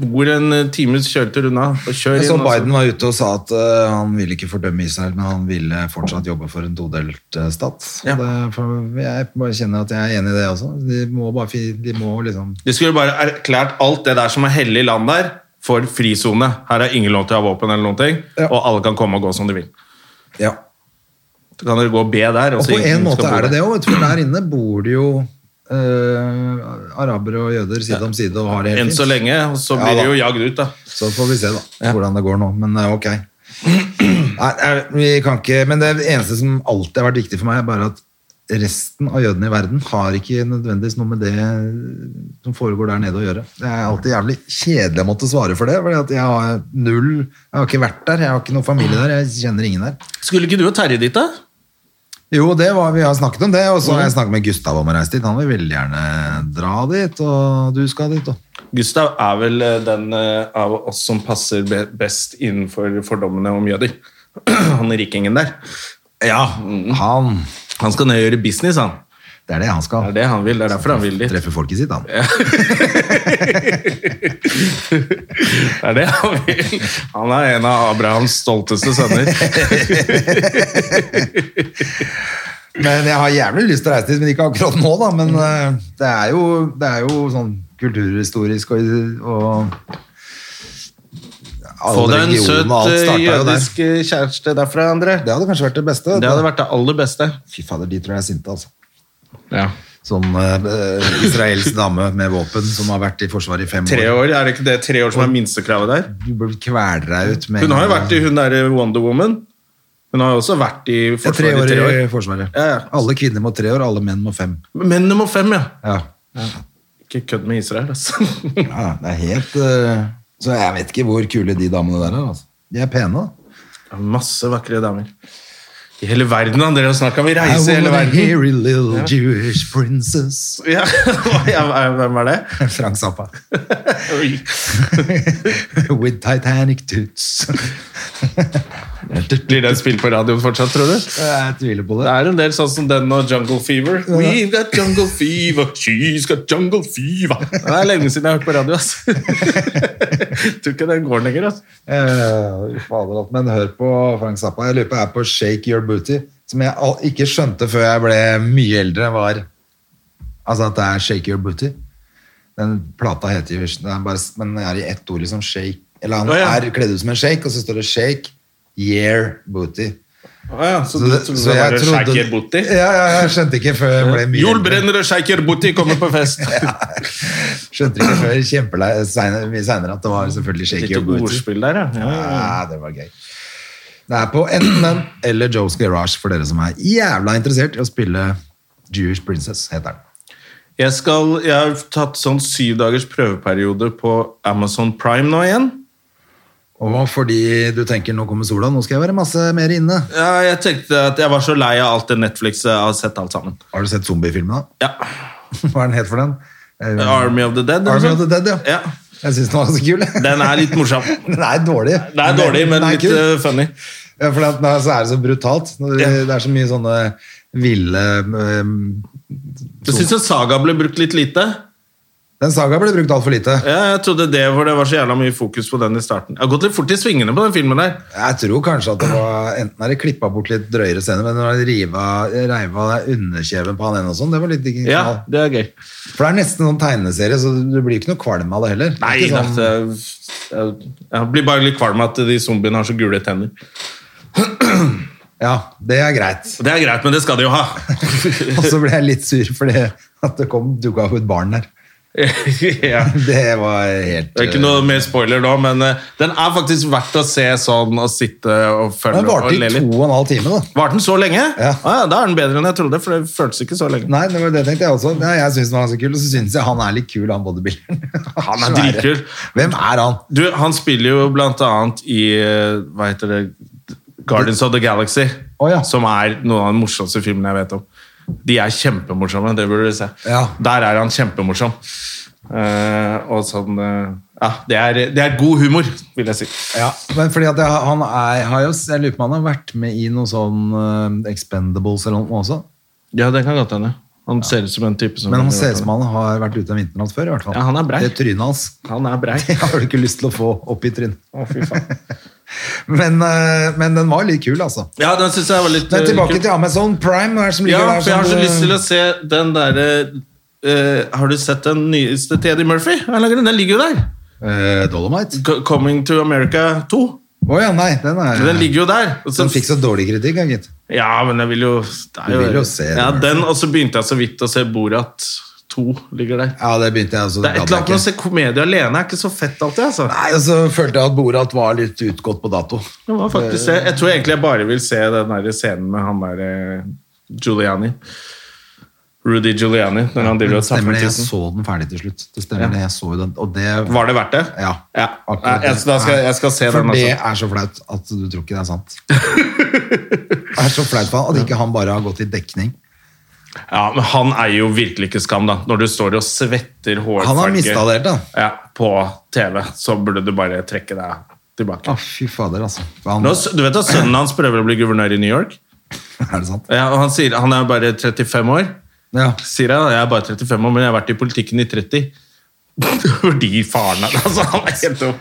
[SPEAKER 1] Bor en times kjøretur unna. og Kjør
[SPEAKER 2] Jeg
[SPEAKER 1] inn.
[SPEAKER 2] så
[SPEAKER 1] og så-
[SPEAKER 2] Biden var ute og sa at eh, han ville ikke fordømme Israel, men han ville fortsatt jobbe for en todelt eh, stat. Så
[SPEAKER 1] Ja.
[SPEAKER 2] Det, for jeg bare kjenner at jeg er enig i det også. De må bare fi- de må liksom
[SPEAKER 1] De skulle bare erklært alt det der som er hellig land der, for frisone. Her er ingen lov til å ha våpen, eller noen ting,
[SPEAKER 2] Ja.
[SPEAKER 1] og alle kan komme og gå som de vil.
[SPEAKER 2] Ja.
[SPEAKER 1] Så kan dere gå og be der.
[SPEAKER 2] Og
[SPEAKER 1] så
[SPEAKER 2] på
[SPEAKER 1] ingen
[SPEAKER 2] en
[SPEAKER 1] skal
[SPEAKER 2] måte
[SPEAKER 1] bo
[SPEAKER 2] er det
[SPEAKER 1] der.
[SPEAKER 2] det òg, for der inne bor det jo eh, arabere og jøder side om side og har det helt
[SPEAKER 1] Enn så
[SPEAKER 2] fint.
[SPEAKER 1] lenge, og så
[SPEAKER 2] Ja,
[SPEAKER 1] blir
[SPEAKER 2] da.
[SPEAKER 1] de jo jagd ut, da.
[SPEAKER 2] Så får vi se da, hvordan det går nå, men eh, ok. eh, Nei, nei, vi kan ikke, men det eneste som alltid har vært viktig for meg, er bare at resten av jødene i verden har ikke nødvendigvis noe med det som foregår der nede å gjøre. Det er alltid jævlig kjedelig å måtte svare for det, fordi at jeg har null, jeg har ikke vært der, jeg har ikke noen familie der, jeg kjenner ingen der.
[SPEAKER 1] Skulle ikke du og Terje dit, da?
[SPEAKER 2] Jo, det var, vi har snakket om det, og så har jeg snakket med Gustav om å reise dit, han vil veldig gjerne dra dit, og du skal dit, og
[SPEAKER 1] Gustav er vel eh, den eh, av oss som passer be- best innenfor fordommene om jøder. Han rikingen der. Ja, mm.
[SPEAKER 2] han,
[SPEAKER 1] han skal ned og gjøre business, han.
[SPEAKER 2] det er det han skal.
[SPEAKER 1] Det er det han vil, det er derfor han vil dit.
[SPEAKER 2] Treffer folket sitt, han.
[SPEAKER 1] Det er det han vil. Han er en av Abrahams stolteste sønner.
[SPEAKER 2] Men jeg har jævlig lyst til å reise dit, men ikke akkurat nå, da. Men
[SPEAKER 1] Mm.
[SPEAKER 2] eh, det, er jo, det er jo sånn kulturhistorisk og, og
[SPEAKER 1] Få deg en søt eh,
[SPEAKER 2] startet jo der.
[SPEAKER 1] jødisk eh, kjæreste derfra, André.
[SPEAKER 2] Det hadde kanskje vært det beste.
[SPEAKER 1] Det hadde vært det aller beste.
[SPEAKER 2] Fy fader, de tror jeg er sinte, altså.
[SPEAKER 1] Ja.
[SPEAKER 2] Sånn eh, israelsk dame med våpen som har vært i forsvaret i fem
[SPEAKER 1] Tre
[SPEAKER 2] år.
[SPEAKER 1] år, er det ikke det tre år som er minstekravet der?
[SPEAKER 2] Du burde kvele deg ut med
[SPEAKER 1] Hun har jo vært i hun der eh, Wonder Woman. Hun har jo også vært i
[SPEAKER 2] Ja, tre år
[SPEAKER 1] Forsvaret i tre år.
[SPEAKER 2] i Forsvaret.
[SPEAKER 1] Ja, ja.
[SPEAKER 2] Alle kvinner må tre år, alle menn må fem.
[SPEAKER 1] Menn nummer fem, ja.
[SPEAKER 2] Ja.
[SPEAKER 1] Ikke kødd med Israel, altså.
[SPEAKER 2] Ja, det er helt eh, Så jeg vet ikke hvor kule de damene der er. Altså. De er pene, da.
[SPEAKER 1] Det er Masse vakre damer. I hele verden, André. Snart kan vi
[SPEAKER 2] I
[SPEAKER 1] reise i hele
[SPEAKER 2] wanna
[SPEAKER 1] verden.
[SPEAKER 2] hear a little Jewish princess.
[SPEAKER 1] Ja, ja, Hvem er det?
[SPEAKER 2] Frank Zappa.
[SPEAKER 1] Oi.
[SPEAKER 2] With Titanic toots.
[SPEAKER 1] Blir den spilt på radioen fortsatt, tror du?
[SPEAKER 2] Jeg tviler på
[SPEAKER 1] Det
[SPEAKER 2] det.
[SPEAKER 1] er en del sånn som den og Jungle Fever. We've got jungle fever, she's got jungle fever. Det er lenge siden jeg har hørt på radio, ass. Tror ikke den går lenger, ass.
[SPEAKER 2] Eh, fader, alt, men hør på Frank Zappa. Jeg lurer på jeg er på Shake Your Booty, som jeg al- ikke skjønte før jeg ble mye eldre, var altså at det er Shake Your Booty. Den plata heter jo det er bare, Men den er i ett ord, liksom. Shake. Eller han
[SPEAKER 1] Å, ja.
[SPEAKER 2] er kledd ut som en shake, og så står det Shake Year Booty.
[SPEAKER 1] Å ja, så, du trodde
[SPEAKER 2] så
[SPEAKER 1] det var
[SPEAKER 2] jeg trodde-
[SPEAKER 1] Shaker Booty?
[SPEAKER 2] Ja, ja, jeg skjønte ikke før jeg ble mye
[SPEAKER 1] Joel
[SPEAKER 2] eldre.
[SPEAKER 1] Brenner og Shaker Booty kommer på fest!
[SPEAKER 2] Skjønte ikke før kjempelei- senere- mye senere at det var selvfølgelig Shake
[SPEAKER 1] Litt
[SPEAKER 2] Your Booty.
[SPEAKER 1] ordspill der, ja. ja.
[SPEAKER 2] Ja, det var gøy. Det er på enten den eller Joe's Garage for dere som er jævla interessert i å spille Jewish Princess, heter den.
[SPEAKER 1] Jeg, skal, jeg har tatt sånn syv dagers prøveperiode på Amazon Prime nå igjen.
[SPEAKER 2] Og fordi du tenker nå kommer sola, nå skal jeg være masse mer inne.
[SPEAKER 1] Ja, jeg tenkte at jeg var så lei av alt det Netflix jeg har sett alt sammen.
[SPEAKER 2] Har du sett zombiefilmen, da?
[SPEAKER 1] Ja,
[SPEAKER 2] Hva er den het for den? Eh,
[SPEAKER 1] Army of the Dead. eller
[SPEAKER 2] Army
[SPEAKER 1] noe
[SPEAKER 2] of the
[SPEAKER 1] sånt.
[SPEAKER 2] Dead, ja.
[SPEAKER 1] Ja.
[SPEAKER 2] Jeg syns den var så kul.
[SPEAKER 1] Den er litt morsom.
[SPEAKER 2] Den er dårlig.
[SPEAKER 1] Det er dårlig, men
[SPEAKER 2] den er
[SPEAKER 1] litt
[SPEAKER 2] kul.
[SPEAKER 1] eh, funny.
[SPEAKER 2] Ja, for at, nå så er det så brutalt. Når Det, det er så mye sånne ville eh, øhm,
[SPEAKER 1] Jeg syns Saga ble brukt litt lite.
[SPEAKER 2] Den saga ble brukt altfor lite.
[SPEAKER 1] Ja, jeg trodde det var, det var så jævla mye fokus på den i starten. Jeg har gått litt fort i svingene på den filmen der.
[SPEAKER 2] Jeg tror kanskje at det var Enten er det klippa bort litt drøyere scener, men når de riva, reiva underkjeven på han ene og sånn, det var litt ikke
[SPEAKER 1] Ja,
[SPEAKER 2] knall.
[SPEAKER 1] det er gøy.
[SPEAKER 2] For det er nesten sånn tegneserie, så du blir ikke noe kvalm av det heller. Det er
[SPEAKER 1] Nei,
[SPEAKER 2] ikke
[SPEAKER 1] da,
[SPEAKER 2] sånn,
[SPEAKER 1] jeg, jeg, jeg blir bare litt kvalm av at de zombiene har så gule tenner.
[SPEAKER 2] Ja, det er greit.
[SPEAKER 1] Og Det er greit, men det skal de jo ha.
[SPEAKER 2] Og så ble jeg litt sur fordi at det kom dukka opp et barn der.
[SPEAKER 1] ja.
[SPEAKER 2] Det var helt
[SPEAKER 1] Det er ikke noe mer spoiler nå, men eh, den er faktisk verdt å se sånn og sitte og følge
[SPEAKER 2] Den eh, varte
[SPEAKER 1] og
[SPEAKER 2] i
[SPEAKER 1] le
[SPEAKER 2] to
[SPEAKER 1] litt.
[SPEAKER 2] og en halv time, da.
[SPEAKER 1] Varte den så lenge?
[SPEAKER 2] Ja.
[SPEAKER 1] Ah, ja, da er den bedre enn jeg trodde, for det føltes ikke så lenge.
[SPEAKER 2] Nei, det var det tenkte jeg også. Nei, jeg syns den var ganske kul, og så syns jeg han er litt kul, han bodybuilderen.
[SPEAKER 1] Han er
[SPEAKER 2] Svære.
[SPEAKER 1] dritkul.
[SPEAKER 2] Hvem er han?
[SPEAKER 1] Du, han spiller jo blant annet i eh, Hva heter det? Guardians of the Galaxy.
[SPEAKER 2] Å, ja.
[SPEAKER 1] Som er noen av de morsomste filmene jeg vet om. De er kjempemorsomme, det burde du se.
[SPEAKER 2] Ja.
[SPEAKER 1] Der er han kjempemorsom. Eh, og sånn eh, Ja, det er, det er god humor, vil jeg si.
[SPEAKER 2] Ja, men fordi at jeg, han er, har jo, jeg lurer på om han har vært med i noe sånn eh, Expendables eller noe også.
[SPEAKER 1] Ja, det kan godt hende. Han ser ut som en type som
[SPEAKER 2] Men han ser ut som han har vært ute av vinternatt før, i hvert fall.
[SPEAKER 1] Ja, han er brei.
[SPEAKER 2] Det trynet hans.
[SPEAKER 1] Han er brei.
[SPEAKER 2] Det har du ikke lyst til å få opp i trynet.
[SPEAKER 1] Å, fy faen.
[SPEAKER 2] Men, eh, men den var litt kul, altså.
[SPEAKER 1] Ja, den syns jeg var litt
[SPEAKER 2] Men
[SPEAKER 1] eh,
[SPEAKER 2] tilbake
[SPEAKER 1] kul.
[SPEAKER 2] til Amazon Prime. Hva er det som ligger
[SPEAKER 1] Ja,
[SPEAKER 2] der?
[SPEAKER 1] for jeg har
[SPEAKER 2] som eh,
[SPEAKER 1] så
[SPEAKER 2] du-
[SPEAKER 1] lyst til å se den derre eh, Har du sett den nyeste til Eddie Murphy? Han lager Den den ligger jo der.
[SPEAKER 2] Eh, Dolomite?
[SPEAKER 1] Co- Coming to America 2.
[SPEAKER 2] Å ja, nei, den er
[SPEAKER 1] Den ligger jo der. Og så-
[SPEAKER 2] Den fikk så dårlig kritikk, ja, gitt.
[SPEAKER 1] Ja, men jeg vil jo, det er
[SPEAKER 2] Du vil jo se den,
[SPEAKER 1] ja,
[SPEAKER 2] altså.
[SPEAKER 1] den. Og så begynte jeg så vidt å se Borat 2 ligger der.
[SPEAKER 2] Ja, det begynte jeg også.
[SPEAKER 1] Det er
[SPEAKER 2] gadd
[SPEAKER 1] et
[SPEAKER 2] jeg
[SPEAKER 1] eller annet med
[SPEAKER 2] ikke.
[SPEAKER 1] å se komedie alene er ikke så fett alltid, altså.
[SPEAKER 2] Nei, og så følte jeg at Borat var litt utgått på dato.
[SPEAKER 1] Det var faktisk det. Jeg tror egentlig jeg bare vil se den der scenen med han der eh, Giuliani. Rudy Giuliani når han driver og
[SPEAKER 2] stemmer
[SPEAKER 1] tapper
[SPEAKER 2] det, jeg
[SPEAKER 1] tissen.
[SPEAKER 2] så den ferdig til slutt. Det stemmer det, jeg så jo den. Og det
[SPEAKER 1] Var det verdt det?
[SPEAKER 2] Ja.
[SPEAKER 1] ja. Nei,
[SPEAKER 2] akkurat
[SPEAKER 1] jeg,
[SPEAKER 2] det.
[SPEAKER 1] da skal, jeg skal se
[SPEAKER 2] For
[SPEAKER 1] den.
[SPEAKER 2] det
[SPEAKER 1] Altså.
[SPEAKER 2] er så flaut at du tror ikke det er sant. det er så flaut for han at ikke han bare har gått i dekning.
[SPEAKER 1] Ja, men han er jo virkelig ikke skam, da. Når du står og svetter hårfarge
[SPEAKER 2] Han har mista det helt, da.
[SPEAKER 1] Ja, på TV, så burde du bare trekke deg tilbake.
[SPEAKER 2] Å, fy fader, altså. For han,
[SPEAKER 1] Nå, du vet at sønnen hans prøver å bli guvernør i New York?
[SPEAKER 2] er det sant?
[SPEAKER 1] Ja, og han, sier, han er bare 35 år.
[SPEAKER 2] Ja.
[SPEAKER 1] Sier jeg, da. jeg er bare 35 år, men jeg har vært i politikken i 30. Fordi faren er altså, han er helt dum.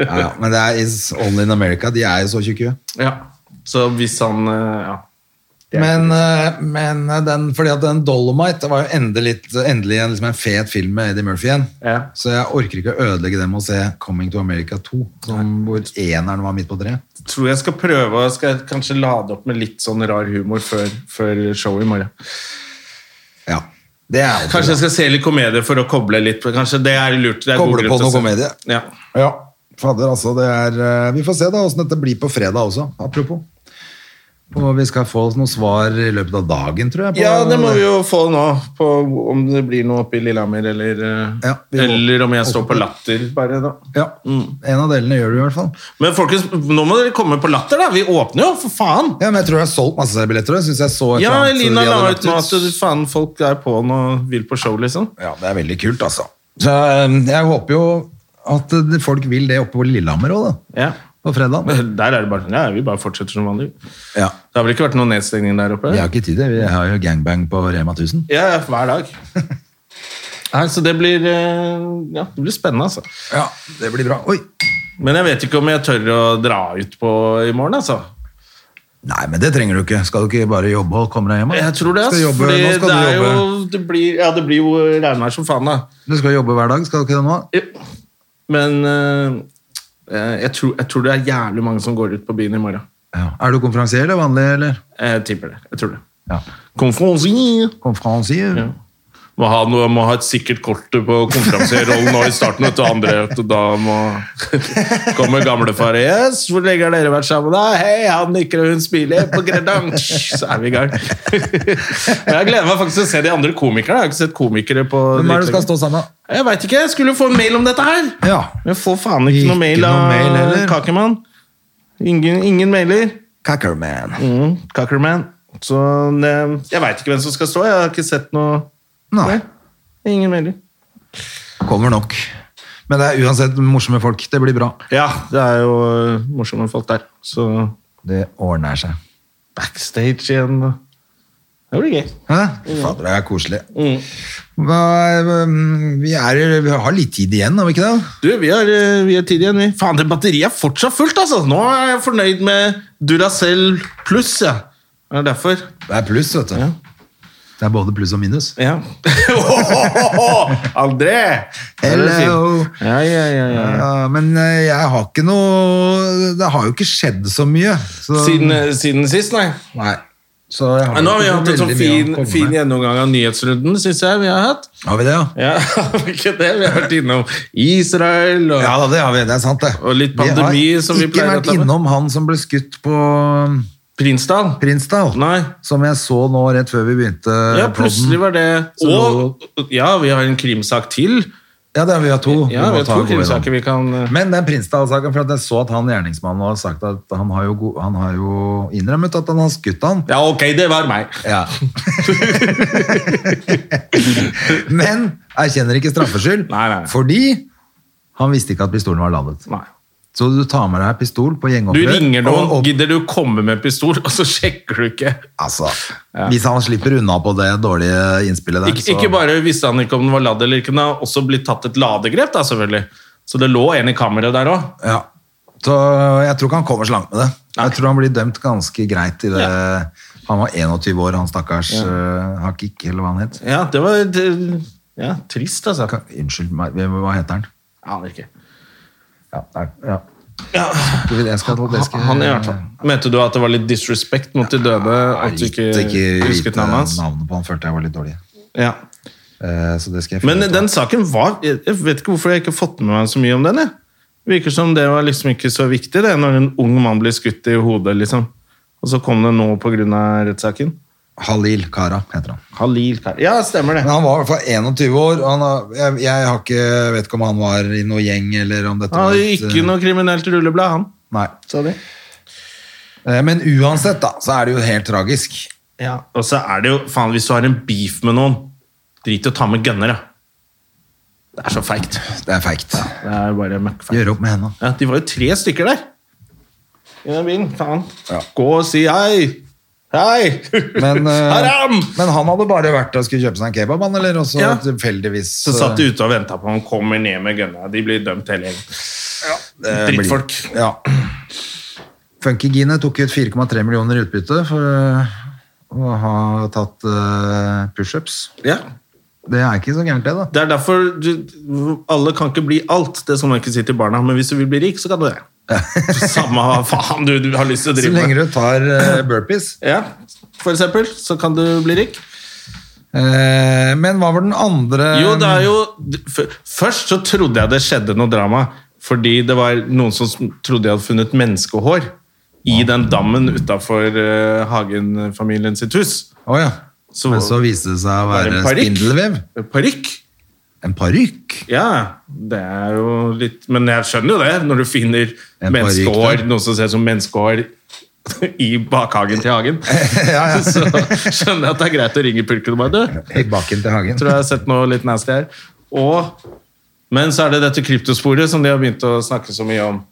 [SPEAKER 2] Ja, ja. Men det er is only in America. De er jo så tjukke.
[SPEAKER 1] Ja. Så hvis han eh, ja.
[SPEAKER 2] Men, eh, men den, fordi at den Dolomite var jo endelig, endelig en, liksom en fet film med Eddie Murphy igjen.
[SPEAKER 1] Ja.
[SPEAKER 2] Så jeg orker ikke å ødelegge det med å se Coming to America 2, som, hvor eneren var midt på treet.
[SPEAKER 1] Tror jeg skal prøve å skal kanskje lade opp med litt sånn rar humor før, før showet i morgen.
[SPEAKER 2] Ja. Det er alltid
[SPEAKER 1] Kanskje
[SPEAKER 2] bra.
[SPEAKER 1] jeg skal se litt komedie for å koble litt. Kanskje det er lurt. Det er god
[SPEAKER 2] Koble
[SPEAKER 1] grunn
[SPEAKER 2] på
[SPEAKER 1] til å
[SPEAKER 2] noe
[SPEAKER 1] se.
[SPEAKER 2] komedie.
[SPEAKER 1] Ja.
[SPEAKER 2] Ja, fader altså, det er eh, Vi får se da hvordan dette blir på fredag også, apropos. Og vi skal få noen svar i løpet av dagen, tror jeg. på-
[SPEAKER 1] ja, det må vi jo få nå. På om det blir noe oppe i Lillehammer, eller, eh,
[SPEAKER 2] Ja, vi må-
[SPEAKER 1] eller om jeg står på Latter bare, da.
[SPEAKER 2] Ja,
[SPEAKER 1] Mm.
[SPEAKER 2] En av delene gjør du i hvert fall.
[SPEAKER 1] Men folkens, nå må dere komme på Latter, da! Vi åpner jo, for faen!
[SPEAKER 2] Ja, men Jeg tror jeg har solgt masse billetter. og Jeg synes jeg så et
[SPEAKER 1] Ja,
[SPEAKER 2] eller annet
[SPEAKER 1] Elina
[SPEAKER 2] vi hadde
[SPEAKER 1] la
[SPEAKER 2] lagt
[SPEAKER 1] ut nå at du- faen, folk er på'n og vil på show, liksom.
[SPEAKER 2] Ja, det er veldig kult, altså. Så eh, jeg håper jo at eh, folk vil det oppe på Lillehammer òg, da.
[SPEAKER 1] Ja.
[SPEAKER 2] På fredag.
[SPEAKER 1] Der er det bare sånn Ja, vi bare fortsetter som vanlig.
[SPEAKER 2] Ja.
[SPEAKER 1] Det har vel ikke vært noen nedstengning der oppe?
[SPEAKER 2] Vi har ikke tid til det. Vi har jo gangbang på Rema 1000.
[SPEAKER 1] Ja, ja, hver dag. Nei, så det blir eh, Ja, det blir spennende, altså.
[SPEAKER 2] Ja, det blir bra. Oi!
[SPEAKER 1] Men jeg vet ikke om jeg tør å dra ut på i morgen, altså.
[SPEAKER 2] Nei, men det trenger du ikke. Skal du ikke bare jobbe og komme deg hjem? da?
[SPEAKER 1] Jeg tror det,
[SPEAKER 2] Skal
[SPEAKER 1] altså.
[SPEAKER 2] jobbe-
[SPEAKER 1] Fordi
[SPEAKER 2] nå skal
[SPEAKER 1] det
[SPEAKER 2] du
[SPEAKER 1] er
[SPEAKER 2] jobbe.
[SPEAKER 1] jo det blir, Ja, det blir jo regnvær som faen, da.
[SPEAKER 2] Du skal jobbe hver dag, skal du ikke det nå?
[SPEAKER 1] Jo. Men eh, eh, jeg, tror, jeg tror det er jævlig mange som går ut på byen i morgen.
[SPEAKER 2] Ja. Er du konferansier eller vanlig, eller?
[SPEAKER 1] Jeg tipper det. Jeg tror det.
[SPEAKER 2] Ja.
[SPEAKER 1] Konferansier.
[SPEAKER 2] Konferansier?
[SPEAKER 1] Ja. Må ha, noe, må ha et sikkert kort på konferansierrollen nå i starten. Vet du, andre, vet du, da må kommer gamlefar yes, 'Hvor lenge har dere vært sammen?' da? 'Hei, han nikker, og hun smiler.' På Gredang. Så er vi i gang. Men jeg gleder meg faktisk til å se de andre komikerne. Jeg har ikke sett komikere på
[SPEAKER 2] Hvem er det du skal
[SPEAKER 1] dritlenge.
[SPEAKER 2] stå sammen med?
[SPEAKER 1] Jeg veit ikke. Jeg skulle jo få en mail om dette her.
[SPEAKER 2] Ja.
[SPEAKER 1] Men jeg får faen ikke, noe
[SPEAKER 2] Ikke
[SPEAKER 1] mail
[SPEAKER 2] noe
[SPEAKER 1] av
[SPEAKER 2] mail heller.
[SPEAKER 1] Kakemann. Ingen, ingen mailer.
[SPEAKER 2] Cackerman.
[SPEAKER 1] Mm, Cockerman. Så ne, jeg veit ikke hvem som skal stå. Jeg har ikke sett noe
[SPEAKER 2] Nei,
[SPEAKER 1] Ingen mailer.
[SPEAKER 2] kommer nok. Men det er uansett morsomme folk. Det blir bra.
[SPEAKER 1] Ja, det er jo eh, morsomme folk der. Så
[SPEAKER 2] Det ordner seg.
[SPEAKER 1] backstage igjen. og- Det blir gøy.
[SPEAKER 2] Hæ? Fader, det er koselig.
[SPEAKER 1] Mm.
[SPEAKER 2] Hva, um, vi, er, vi har litt tid igjen, har vi ikke det?
[SPEAKER 1] Du, vi har, eh, vi har tid igjen, vi. Faen, det batteriet er fortsatt fullt, altså! Nå er jeg fornøyd med Duracell pluss, ja. Det er derfor.
[SPEAKER 2] Det er pluss, vet du.
[SPEAKER 1] Ja.
[SPEAKER 2] Det er både pluss og minus.
[SPEAKER 1] Ja. André!
[SPEAKER 2] Hello!
[SPEAKER 1] Ja, ja, ja, ja.
[SPEAKER 2] Ja, men eh, jeg har ikke noe Det har jo ikke skjedd så mye. Så,
[SPEAKER 1] Siden, eh, siden sist, nei.
[SPEAKER 2] Nei. Så jeg
[SPEAKER 1] Men nå har vi hatt en
[SPEAKER 2] ikke så
[SPEAKER 1] sånn
[SPEAKER 2] veldig mye å
[SPEAKER 1] fin,
[SPEAKER 2] komme
[SPEAKER 1] fin
[SPEAKER 2] med.
[SPEAKER 1] gjennomgang av nyhetsrunden, syns jeg vi har hatt.
[SPEAKER 2] Har vi det, ja?
[SPEAKER 1] Ja, ikke det? Vi har vært innom Israel og
[SPEAKER 2] Ja da, det har vi. Det er sant, det.
[SPEAKER 1] Og litt pandemi, som vi
[SPEAKER 2] Vi
[SPEAKER 1] pleier å
[SPEAKER 2] har ikke
[SPEAKER 1] ta
[SPEAKER 2] vært
[SPEAKER 1] med.
[SPEAKER 2] innom han som ble skutt på um,
[SPEAKER 1] Prinsdal.
[SPEAKER 2] Prinsdal.
[SPEAKER 1] Nei.
[SPEAKER 2] Som jeg så nå rett før vi begynte
[SPEAKER 1] Ja,
[SPEAKER 2] Eh, podden.
[SPEAKER 1] plutselig var det
[SPEAKER 2] Så
[SPEAKER 1] Og ja, vi har en krimsak til.
[SPEAKER 2] Ja, det har vi hatt to.
[SPEAKER 1] Ja,
[SPEAKER 2] må
[SPEAKER 1] vi har
[SPEAKER 2] ta
[SPEAKER 1] to
[SPEAKER 2] og gå gjennom.
[SPEAKER 1] krimsaker vi kan eh,
[SPEAKER 2] Men den Prinsdal-saken, for at jeg så at han gjerningsmannen har sagt at han har jo, go- han har jo innrømmet at han har skutt han.
[SPEAKER 1] Ja, ok, det var meg.
[SPEAKER 2] Ja. Men erkjenner ikke straffskyld,
[SPEAKER 1] Nei, nei, nei.
[SPEAKER 2] fordi han visste ikke at pistolen var ladet.
[SPEAKER 1] Nei.
[SPEAKER 2] Så du tar med deg pistol på
[SPEAKER 1] Du
[SPEAKER 2] gjengopprør.
[SPEAKER 1] ringer noen,
[SPEAKER 2] og- og-
[SPEAKER 1] gidder du komme med pistol, og så sjekker du ikke.
[SPEAKER 2] Altså,
[SPEAKER 1] Ja.
[SPEAKER 2] Hvis han slipper unna på det dårlige innspillet der,
[SPEAKER 1] Ikke, ikke bare visste han ikke om den var ladd eller ikke, men det har også blitt tatt et ladegrep, da, selvfølgelig. Så det lå en i kammeret der òg.
[SPEAKER 2] ja. Så jeg tror ikke han kommer så langt med det. Jeg tror han blir dømt ganske greit i det. Han var 21 år, han stakkars øh, Hakik, eller hva han het.
[SPEAKER 1] Ja, det var det- ja, trist, altså.
[SPEAKER 2] Ka- Unnskyld meg, hvem- hva heter han?
[SPEAKER 1] Aner ikke.
[SPEAKER 2] Ja, der, ja. Skal vi- Jeg skal, det skal,
[SPEAKER 1] Han i hvert fall.
[SPEAKER 2] Eh.
[SPEAKER 1] Mente du at det var litt disrespect mot de døde? Eh, At du ikke, husket navnet hans?
[SPEAKER 2] Navnet på han følte jeg var litt dårlig.
[SPEAKER 1] Ja.
[SPEAKER 2] Eh, Så det skal jeg
[SPEAKER 1] Men
[SPEAKER 2] finne ut av.
[SPEAKER 1] den saken var Jeg jeg vet ikke hvorfor jeg ikke har fått med meg så mye om den. Jeg. Virker som det var liksom ikke så viktig det, når en ung mann blir skutt i hodet, liksom. Og så kom det nå pga. rettssaken.
[SPEAKER 2] Halil Kara heter han.
[SPEAKER 1] Halil Kar... Ja, stemmer
[SPEAKER 2] Men
[SPEAKER 1] det.
[SPEAKER 2] han var i hvert fall 21 år. og Han, har- jeg, jeg har ikke, vet ikke om han var i noe gjeng eller om dette
[SPEAKER 1] Han
[SPEAKER 2] var
[SPEAKER 1] hadde
[SPEAKER 2] et,
[SPEAKER 1] ikke
[SPEAKER 2] eh,
[SPEAKER 1] noe kriminelt rulleblad, han.
[SPEAKER 2] Nei.
[SPEAKER 1] Sa de.
[SPEAKER 2] Eh, Men uansett, da, så er det jo helt tragisk.
[SPEAKER 1] Ja. Og så er det jo Faen, hvis du har en beef med noen, drit i å ta med gønnere. Det er så feigt.
[SPEAKER 2] Det er feigt.
[SPEAKER 1] Det er bare møkkfeigt.
[SPEAKER 2] Gjøre opp med henda.
[SPEAKER 1] Ja, de var jo tre stykker der. I den bilen. Faen.
[SPEAKER 2] Ja.
[SPEAKER 1] Gå og si hei! Hei!
[SPEAKER 2] Men, eh,
[SPEAKER 1] Haram!
[SPEAKER 2] men han hadde bare vært og skulle kjøpe seg en kebab, han, eller? Og så
[SPEAKER 1] Ja.
[SPEAKER 2] tilfeldigvis
[SPEAKER 1] Så satt de ute og venta på han kommer ned med gønna. De blir dømt hele gjengen.
[SPEAKER 2] eh,
[SPEAKER 1] drittfolk.
[SPEAKER 2] blir- Ja. Funkygine tok ut 4,3 millioner i utbytte for eh, å ha tatt eh, pushups.
[SPEAKER 1] Ja.
[SPEAKER 2] Det er ikke så gærent, det, da.
[SPEAKER 1] Det er derfor du, alle kan ikke bli alt. Det skal man ikke si til barna. Men hvis du vil bli rik, så kan du det. Samme hva faen du, du har lyst til å
[SPEAKER 2] Så
[SPEAKER 1] drive
[SPEAKER 2] lenge
[SPEAKER 1] med.
[SPEAKER 2] du tar eh, burpees.
[SPEAKER 1] Ja, for eksempel, så kan du bli rik.
[SPEAKER 2] Eh, men hva var den andre
[SPEAKER 1] Jo, det er jo f- Først så trodde jeg det skjedde noe drama, fordi det var noen som sm- trodde jeg hadde funnet menneskehår i den dammen utafor Hagen-familien sitt hus.
[SPEAKER 2] Å ja.
[SPEAKER 1] Så-
[SPEAKER 2] men så viste det seg å
[SPEAKER 1] Var det
[SPEAKER 2] være
[SPEAKER 1] en parykk?
[SPEAKER 2] spindelvev.
[SPEAKER 1] Parykk.
[SPEAKER 2] En parykk?
[SPEAKER 1] Ja, det er jo litt Men jeg skjønner jo det, når du finner
[SPEAKER 2] En parykk
[SPEAKER 1] menneskehår,
[SPEAKER 2] der.
[SPEAKER 1] noe som ser ut som menneskehår i bakhagen til Hagen. Så skjønner jeg at det er greit å ringe pulken og bare Du,
[SPEAKER 2] I baken til hagen.
[SPEAKER 1] tror jeg har sett noe litt nasty her. Og, men så er det dette kryptosporet som de har begynt å snakke så mye om.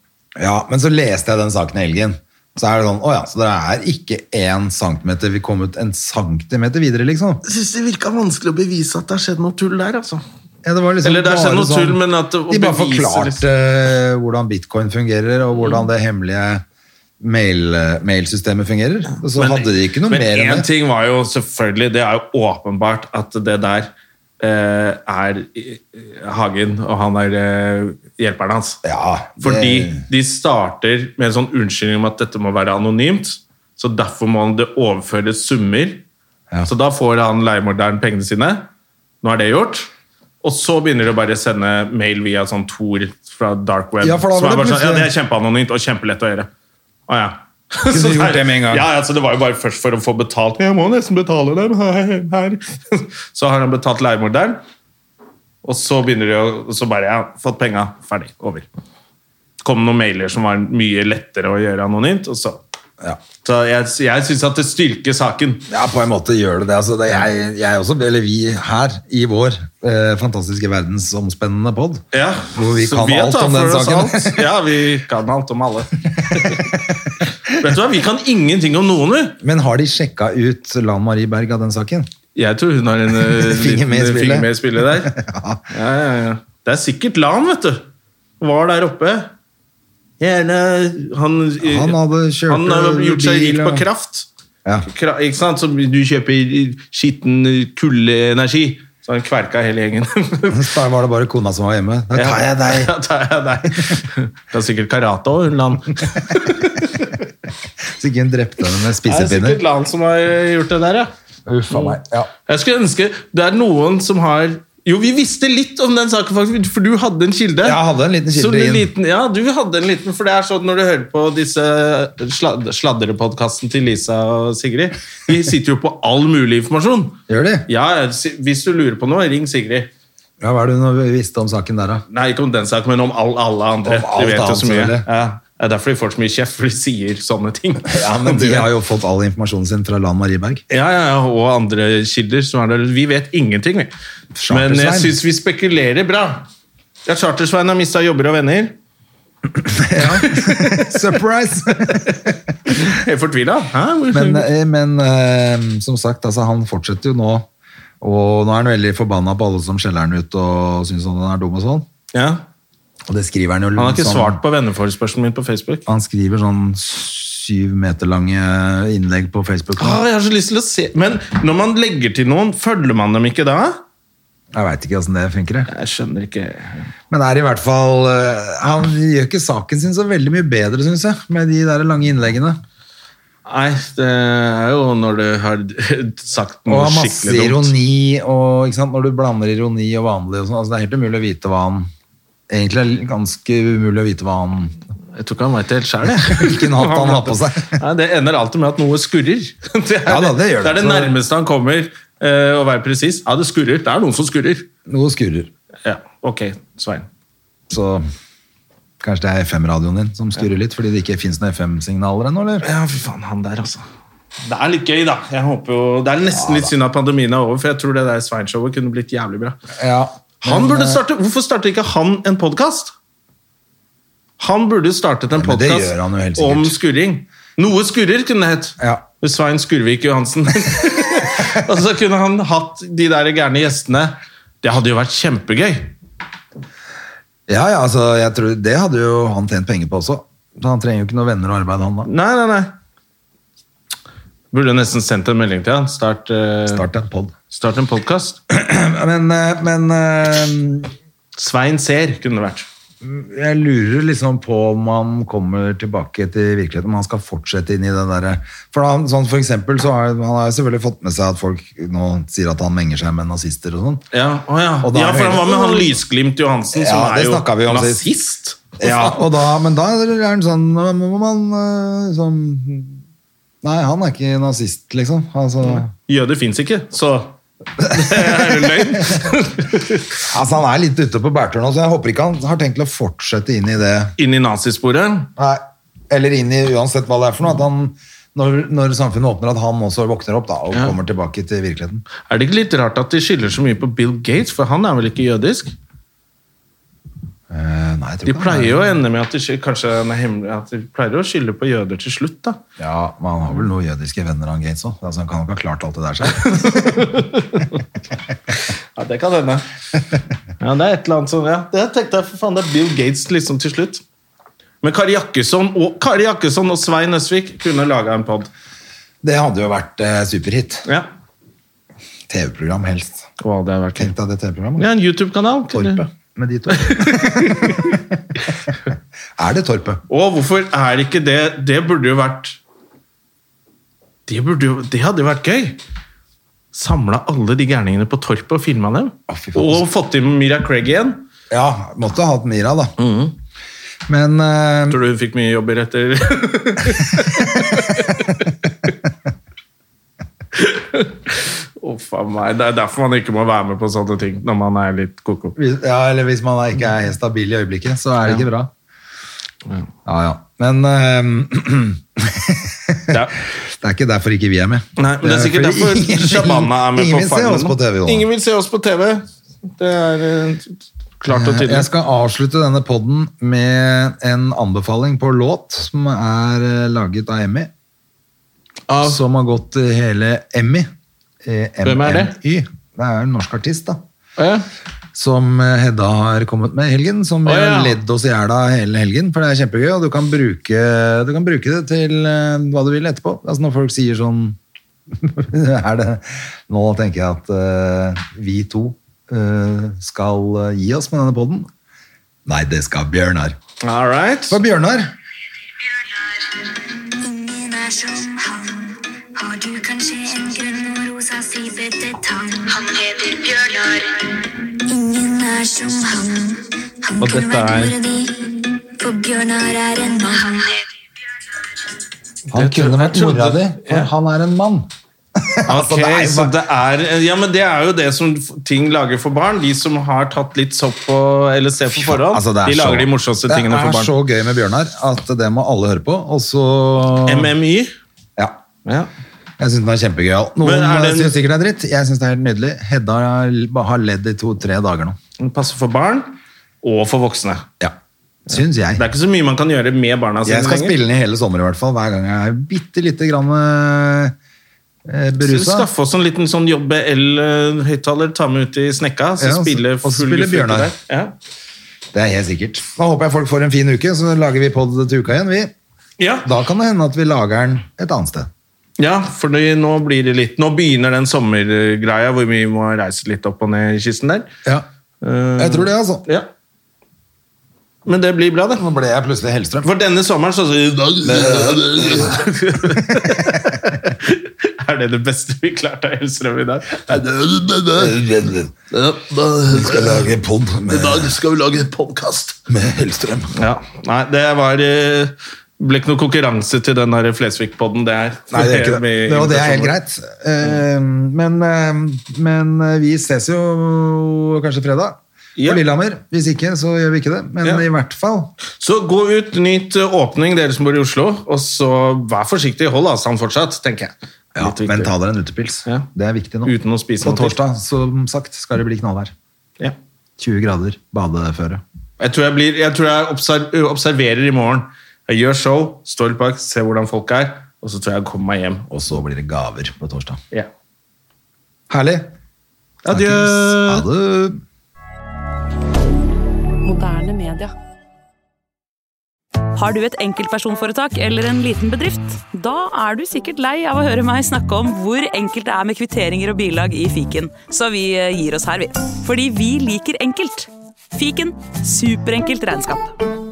[SPEAKER 2] Ja, men så leste jeg den saken i helgen. Så er det sånn, åja, så det er ikke én centimeter, vi kom ut en centimeter videre, liksom.
[SPEAKER 1] Jeg syns det virka vanskelig å bevise at det har skjedd noe tull der, altså.
[SPEAKER 2] Ja, det var liksom
[SPEAKER 1] Eller det er
[SPEAKER 2] bare
[SPEAKER 1] sånn noe tull, men at å
[SPEAKER 2] De bare
[SPEAKER 1] bevise
[SPEAKER 2] forklarte
[SPEAKER 1] liksom- Mm.
[SPEAKER 2] eh, hvordan bitcoin fungerer, og hvordan det hemmelige mail, mailsystemet fungerer. Og så hadde de ikke noe
[SPEAKER 1] men
[SPEAKER 2] mer enn
[SPEAKER 1] en
[SPEAKER 2] det.
[SPEAKER 1] ting var jo selvfølgelig Det er jo åpenbart at det der eh, er eh, Hagen, og han er eh, hjelperen hans.
[SPEAKER 2] Ja,
[SPEAKER 1] Fordi
[SPEAKER 2] det-
[SPEAKER 1] de starter med en sånn unnskyldning om at dette må være anonymt, så derfor må det overføres summer.
[SPEAKER 2] Ja.
[SPEAKER 1] Så da får han leiemorderen pengene sine. Nå er det gjort. Og så begynner de å bare sende mail via sånn Tor fra dark web.
[SPEAKER 2] Ja, for da
[SPEAKER 1] som
[SPEAKER 2] var det
[SPEAKER 1] er bare sånn, ja,
[SPEAKER 2] plutselig-
[SPEAKER 1] det er kjempeanonymt og kjempelett å gjøre. Å ja.
[SPEAKER 2] Kunne
[SPEAKER 1] Så
[SPEAKER 2] du gjort
[SPEAKER 1] der-
[SPEAKER 2] det med en gang?
[SPEAKER 1] Ja, ja, så det var jo bare først for å få betalt. Jeg må nesten betale dem her. her. Så har han betalt leiemorderen, og så begynner de å Så bare, ja, fått penga, ferdig, over. Kom noen mailer som var mye lettere å gjøre anonymt, og så
[SPEAKER 2] Ja.
[SPEAKER 1] Så jeg, jeg syns at det styrker saken.
[SPEAKER 2] Ja, på en måte gjør det det. Altså, det jeg, jeg også, eller vi her i vår eh, fantastiske verdensomspennende pod,
[SPEAKER 1] Ja,
[SPEAKER 2] hvor vi
[SPEAKER 1] så
[SPEAKER 2] kan
[SPEAKER 1] tar
[SPEAKER 2] alt om den
[SPEAKER 1] for oss
[SPEAKER 2] saken.
[SPEAKER 1] alt. Ja, vi kan alt om alle. Vet du hva, vi kan ingenting om noen, vi.
[SPEAKER 2] Men har de sjekka ut Lan Marie Berg av den saken?
[SPEAKER 1] Jeg tror hun har en eh,
[SPEAKER 2] Finger med i
[SPEAKER 1] liten
[SPEAKER 2] spillet.
[SPEAKER 1] finger med i spillet der.
[SPEAKER 2] Ja.
[SPEAKER 1] Ja, ja, ja. Det er sikkert LAN, vet du. Var der oppe. Gjerne Han, eh,
[SPEAKER 2] Han hadde kjørt
[SPEAKER 1] han har gjort seg
[SPEAKER 2] bil,
[SPEAKER 1] rik på
[SPEAKER 2] og-
[SPEAKER 1] kraft.
[SPEAKER 2] Ja.
[SPEAKER 1] Kra, ikke sant? Så du kjøper skitten kulleenergi. Så han kverka hele gjengen.
[SPEAKER 2] Så var det bare kona som var hjemme. Da tar jeg deg!
[SPEAKER 1] Ja, tar jeg deg. Det er sikkert karate òg, hun LAN.
[SPEAKER 2] Så ikke hun drepte henne med
[SPEAKER 1] Det er
[SPEAKER 2] spisepinner.
[SPEAKER 1] sikkert LAN som har gjort det der, ja.
[SPEAKER 2] Uff a meg. Ja.
[SPEAKER 1] Jeg skulle ønske det er noen som har Jo, vi visste litt om den saken, faktisk, for du hadde en kilde.
[SPEAKER 2] Jeg hadde en liten kilde
[SPEAKER 1] Så du
[SPEAKER 2] inn.
[SPEAKER 1] Liten, ja, du hadde en liten, for det er sånn når du hører på disse slad sladrepodkasten til Lisa og Sigrid De sitter jo på all mulig informasjon.
[SPEAKER 2] Gjør de?
[SPEAKER 1] Ja, si- Hvis du lurer på noe, ring Sigrid.
[SPEAKER 2] Ja, Hva er det hun visste om saken der, da?
[SPEAKER 1] Nei, ikke om den saken, men om all, alle andre.
[SPEAKER 2] Om alt
[SPEAKER 1] de vet jo
[SPEAKER 2] annet,
[SPEAKER 1] så mye.
[SPEAKER 2] selvfølgelig.
[SPEAKER 1] Ja. Det er derfor de får så mye kjeft, for de sier sånne ting.
[SPEAKER 2] Ja, men De
[SPEAKER 1] Du-
[SPEAKER 2] har jo fått all informasjonen sin fra Lan Marie Berg.
[SPEAKER 1] Ja, ja, ja, og andre kilder. som er der. Vi vet ingenting, vi. Men jeg
[SPEAKER 2] Chartersveien.
[SPEAKER 1] syns vi spekulerer bra. Ja, Chartersveien har mista jobber og venner.
[SPEAKER 2] Surprise!
[SPEAKER 1] Helt fortvila. Hæ?
[SPEAKER 2] Men, eh, men eh, som sagt, altså, han fortsetter jo nå. Og nå er han veldig forbanna på alle som skjeller han ut og syns han er dum og sånn.
[SPEAKER 1] Ja.
[SPEAKER 2] Og det skriver han jo
[SPEAKER 1] Han har ikke
[SPEAKER 2] sånn-
[SPEAKER 1] svart på venneforespørselen min på Facebook.
[SPEAKER 2] Han skriver sånn syv meter lange innlegg på Facebook.
[SPEAKER 1] Å, jeg har så lyst til å se. Men når man legger til noen, følger man dem ikke da?
[SPEAKER 2] Jeg veit ikke åssen det funker. jeg.
[SPEAKER 1] Jeg skjønner ikke.
[SPEAKER 2] Men det er i hvert fall eh, Han gjør ikke saken sin så veldig mye bedre, syns jeg, med de der lange innleggene.
[SPEAKER 1] Nei, det er jo når du har sagt
[SPEAKER 2] Og
[SPEAKER 1] noe
[SPEAKER 2] har masse
[SPEAKER 1] skikkelig dumt.
[SPEAKER 2] ironi, og ikke sant? når du blander ironi og vanlig og sånn, altså det er helt umulig å vite hva han Egentlig er det ganske umulig å vite hva han
[SPEAKER 1] Jeg tror ikke han veit det helt sjøl. jeg.
[SPEAKER 2] Hvilken hatt han har på seg.
[SPEAKER 1] Nei, det ender alltid med at noe skurrer. Det er
[SPEAKER 2] Ja da, det gjør
[SPEAKER 1] det, er
[SPEAKER 2] det.
[SPEAKER 1] det nærmeste han kommer eh, å være presis. Ja, det skurrer. Det er noen som skurrer.
[SPEAKER 2] Noe skurrer.
[SPEAKER 1] Ja, ok, Svein.
[SPEAKER 2] Så kanskje det er FM-radioen din som skurrer litt, fordi det ikke fins noen FM-signaler ennå, eller?
[SPEAKER 1] Ja, fy faen, han der, altså. Det er litt gøy, da. Jeg håper jo, Det er nesten litt synd at pandemien er over, for jeg tror det der Svein-showet kunne blitt jævlig bra.
[SPEAKER 2] Ja.
[SPEAKER 1] Han
[SPEAKER 2] eh,
[SPEAKER 1] burde starte, Hvorfor starter ikke han en podkast? Han burde startet en
[SPEAKER 2] Ja, men det
[SPEAKER 1] podkast
[SPEAKER 2] gjør han jo helt sikkert.
[SPEAKER 1] om skurring. Noe skurrer kunne det hett.
[SPEAKER 2] Ja.
[SPEAKER 1] Med Svein Skurvik Johansen. og så kunne han hatt de der gærne gjestene. Det hadde jo vært kjempegøy.
[SPEAKER 2] Ja, ja, altså, jeg tror Det hadde jo han tjent penger på også. Så han trenger jo ikke noen venner og arbeid, han da.
[SPEAKER 1] Nei, nei, nei. Burde jo nesten sendt en melding til han. Start, eh,
[SPEAKER 2] Start en pod.
[SPEAKER 1] start en podkast.
[SPEAKER 2] Men, eh, men eh,
[SPEAKER 1] Svein ser, kunne det vært.
[SPEAKER 2] jeg lurer liksom på om han kommer tilbake til virkeligheten, om han skal fortsette inn i det derre For han, sånn for eksempel, så har han har jo selvfølgelig fått med seg at folk nå sier at han menger seg med nazister og sånn.
[SPEAKER 1] Ja, å ja.
[SPEAKER 2] Og da
[SPEAKER 1] ja
[SPEAKER 2] er det
[SPEAKER 1] for han
[SPEAKER 2] helt-
[SPEAKER 1] var med han Lysglimt Johansen,
[SPEAKER 2] Ja,
[SPEAKER 1] som
[SPEAKER 2] det
[SPEAKER 1] er
[SPEAKER 2] snakket vi
[SPEAKER 1] jo
[SPEAKER 2] om sist.
[SPEAKER 1] nazist.
[SPEAKER 2] Ja, og da, men da er han sånn Må må man eh, sånn Nei, han er ikke nazist, liksom. Altså,
[SPEAKER 1] Jøder fins ikke, så det er jo løgn.
[SPEAKER 2] altså han er litt ute på bærtur nå, så jeg håper ikke han har tenkt til å fortsette inn i det.
[SPEAKER 1] Inn i nazisporet.
[SPEAKER 2] Nei, eller inn i uansett hva det er for noe. At han, når, når samfunnet åpner, at han også våkner opp da, og
[SPEAKER 1] Ja.
[SPEAKER 2] kommer tilbake til virkeligheten.
[SPEAKER 1] Er det ikke litt rart at de skylder så mye på Bill Gates, for han er vel ikke jødisk?
[SPEAKER 2] Eh, nei, jeg tror
[SPEAKER 1] De
[SPEAKER 2] ikke han
[SPEAKER 1] pleier
[SPEAKER 2] er-
[SPEAKER 1] jo å ende med at de, sky- kanskje han er hemmelig, at de pleier å skylde på jøder til slutt, da.
[SPEAKER 2] Ja, men han har vel noen jødiske venner, han Gates òg. Altså, han kan jo ikke ha klart alt det der selv.
[SPEAKER 1] Ja, det kan hende. Ja, det er et eller annet som, ja. Det tenkte jeg, for faen, det er Bill Gates liksom til slutt. Men Kari Jakkesson og, Kari Jakkesson og Svein Øsvik kunne laga en pod.
[SPEAKER 2] Det hadde jo vært eh, superhit.
[SPEAKER 1] Ja.
[SPEAKER 2] TV-program helst.
[SPEAKER 1] Å, det har vært
[SPEAKER 2] Tenk deg det TV-programmet.
[SPEAKER 1] Ja, en YouTube-kanal. kunne-
[SPEAKER 2] Torpet. Med de to. er det Torpet?
[SPEAKER 1] Og hvorfor er ikke det Det burde jo vært Det, burde jo, det hadde jo vært gøy. Samla alle de gærningene på torpet og filma dem.
[SPEAKER 2] Å, fy faen.
[SPEAKER 1] og fått inn Mira Craig igjen.
[SPEAKER 2] Ja, måtte ha hatt Mira, da.
[SPEAKER 1] Mm.
[SPEAKER 2] Men eh,
[SPEAKER 1] Tror du hun fikk mye jobber etter Å, faen meg. Det er derfor man ikke må være med på sånne ting når man er litt ko-ko.
[SPEAKER 2] Hvis- Ja, eller hvis man ikke er stabil i øyeblikket, så er det ikke bra. Ja, ja. Men ehm,
[SPEAKER 1] Ja.
[SPEAKER 2] det er ikke derfor ikke vi er med.
[SPEAKER 1] Nei, men det er sikkert
[SPEAKER 2] fordi
[SPEAKER 1] derfor
[SPEAKER 2] ingen-
[SPEAKER 1] Shabana er med
[SPEAKER 2] ingen
[SPEAKER 1] på
[SPEAKER 2] vil se
[SPEAKER 1] Farmen.
[SPEAKER 2] oss på TV, Jonas.
[SPEAKER 1] Ingen vil se oss på TV. Det er eh, klart og tydelig.
[SPEAKER 2] Jeg skal avslutte denne podden med en anbefaling på låt som er eh, laget av Emmy. Som har gått eh, hele Emmy. Eh,
[SPEAKER 1] Hvem er det?
[SPEAKER 2] MMY. Det er en norsk artist, da.
[SPEAKER 1] Ja.
[SPEAKER 2] som eh, Hedda har kommet med i helgen, som
[SPEAKER 1] Å,
[SPEAKER 2] vi
[SPEAKER 1] ja.
[SPEAKER 2] har ledd oss i hjel av hele helgen, for det er kjempegøy, og du kan bruke, du kan bruke det til eh, hva du vil etterpå. Altså når folk sier sånn er det, Nå tenker jeg at eh, vi to eh, skal eh, gi oss med denne podden. Nei, det skal Bjørnar.
[SPEAKER 1] All right.
[SPEAKER 2] For Bjørnar,
[SPEAKER 3] Ingen er som han. Har du kanskje en grønn og rosa stripete tang? Han heter Bjørnar. Ingen er som han. Han
[SPEAKER 1] Og
[SPEAKER 3] kunne
[SPEAKER 1] dette er-
[SPEAKER 3] vært mora di, for Bjørnar er en mann. Han heter
[SPEAKER 2] han
[SPEAKER 1] Jeg
[SPEAKER 2] kunne
[SPEAKER 1] trodde-
[SPEAKER 2] vært
[SPEAKER 1] jeg
[SPEAKER 2] mora
[SPEAKER 1] trodde-
[SPEAKER 2] di, for
[SPEAKER 1] ja.
[SPEAKER 2] han er en mann.
[SPEAKER 1] Ok,
[SPEAKER 2] Altså, det er-
[SPEAKER 1] så det er Ja, men det er jo det som ting lager for barn. De som har tatt litt sopp på LSD på forhånd,
[SPEAKER 2] Altså, det er
[SPEAKER 1] de lager
[SPEAKER 2] så-
[SPEAKER 1] de morsomste tingene
[SPEAKER 2] Det
[SPEAKER 1] for
[SPEAKER 2] er
[SPEAKER 1] barn.
[SPEAKER 2] så gøy med Bjørnar at det må alle høre på, og så
[SPEAKER 1] MMY.
[SPEAKER 2] Ja.
[SPEAKER 1] Ja.
[SPEAKER 2] Jeg syns den er kjempegøyal.
[SPEAKER 1] Men
[SPEAKER 2] Noen
[SPEAKER 1] er den-
[SPEAKER 2] syns sikkert det er dritt. Jeg syns det er helt nydelig. Hedda har- har ledd i to-tre dager nå.
[SPEAKER 1] Den passer for barn og for voksne.
[SPEAKER 2] Ja. Syns jeg.
[SPEAKER 1] Det er ikke så mye man kan gjøre med barna sine
[SPEAKER 2] Jeg skal
[SPEAKER 1] lenger.
[SPEAKER 2] spille den i hele sommer i hvert fall. Hver gang jeg er bitte lite grann eh,
[SPEAKER 1] Så
[SPEAKER 2] berusa.
[SPEAKER 1] Skaffe oss en liten sånn JBL-høyttaler, ta med ut i snekka, så
[SPEAKER 2] Ja, og så-
[SPEAKER 1] spille
[SPEAKER 2] og så
[SPEAKER 1] full
[SPEAKER 2] spille
[SPEAKER 1] guffete
[SPEAKER 2] Bjørnar.
[SPEAKER 1] der. Ja.
[SPEAKER 2] Det er helt sikkert. Da håper jeg folk får en fin uke, så lager vi pod til uka igjen, vi.
[SPEAKER 1] Ja.
[SPEAKER 2] Da kan det hende at vi lager den et annet sted.
[SPEAKER 1] ja, for det- nå blir det litt Nå begynner den sommergreia hvor vi må reise litt opp og ned i kysten der.
[SPEAKER 2] Ja.
[SPEAKER 1] Eh,
[SPEAKER 2] Jeg tror det, altså.
[SPEAKER 1] Ja. Men det blir bra, det.
[SPEAKER 2] Nå ble jeg plutselig Hellstrøm.
[SPEAKER 1] For denne sommeren så Er det det beste vi klarte av Hellstrøm i dag?
[SPEAKER 2] Vi skal lage pod med,
[SPEAKER 1] skal vi lage podkast.
[SPEAKER 2] med Hellstrøm.
[SPEAKER 1] Ja. Nei, det var eh, ble ikke noe konkurranse til den der Flesvig-podden. Det er
[SPEAKER 2] Nei, det er ikke det.
[SPEAKER 1] Med
[SPEAKER 2] Det, og det er helt
[SPEAKER 1] invitasjoner. Mm.
[SPEAKER 2] greit. Eh, Men, eh, men eh, vi ses jo kanskje fredag.
[SPEAKER 1] Ja.
[SPEAKER 2] På Lillehammer. Hvis ikke, så gjør vi ikke det. Men
[SPEAKER 1] Ja.
[SPEAKER 2] i hvert fall.
[SPEAKER 1] Så gå ut, nyt eh, åpning, dere som bor i Oslo. Og så vær forsiktig, hold avstand fortsatt, tenker jeg.
[SPEAKER 2] Ja,
[SPEAKER 1] Litt viktig.
[SPEAKER 2] men ta dere en utepils.
[SPEAKER 1] Ja.
[SPEAKER 2] Det er viktig nå.
[SPEAKER 1] Uten å spise
[SPEAKER 2] På
[SPEAKER 1] noe til.
[SPEAKER 2] torsdag, som sagt, skal det bli knallvær.
[SPEAKER 1] Ja.
[SPEAKER 2] 20 grader, badeføre.
[SPEAKER 1] Jeg tror jeg, blir, jeg, tror jeg obser, ø, observerer i morgen. Jeg gjør show, står litt bak, ser hvordan folk er, og så tror jeg jeg kommer meg hjem.
[SPEAKER 2] Og så blir det gaver på torsdag.
[SPEAKER 1] Ja.
[SPEAKER 2] Herlig.
[SPEAKER 1] Adjø!
[SPEAKER 2] Snakkes. Ha det.
[SPEAKER 4] Moderne media.
[SPEAKER 5] Har du et enkeltpersonforetak eller en liten bedrift? Da er du sikkert lei av å høre meg snakke om hvor enkelt det er med kvitteringer og bilag i fiken, så vi eh, gir oss her, vi. Fordi vi liker enkelt. Fiken superenkelt regnskap.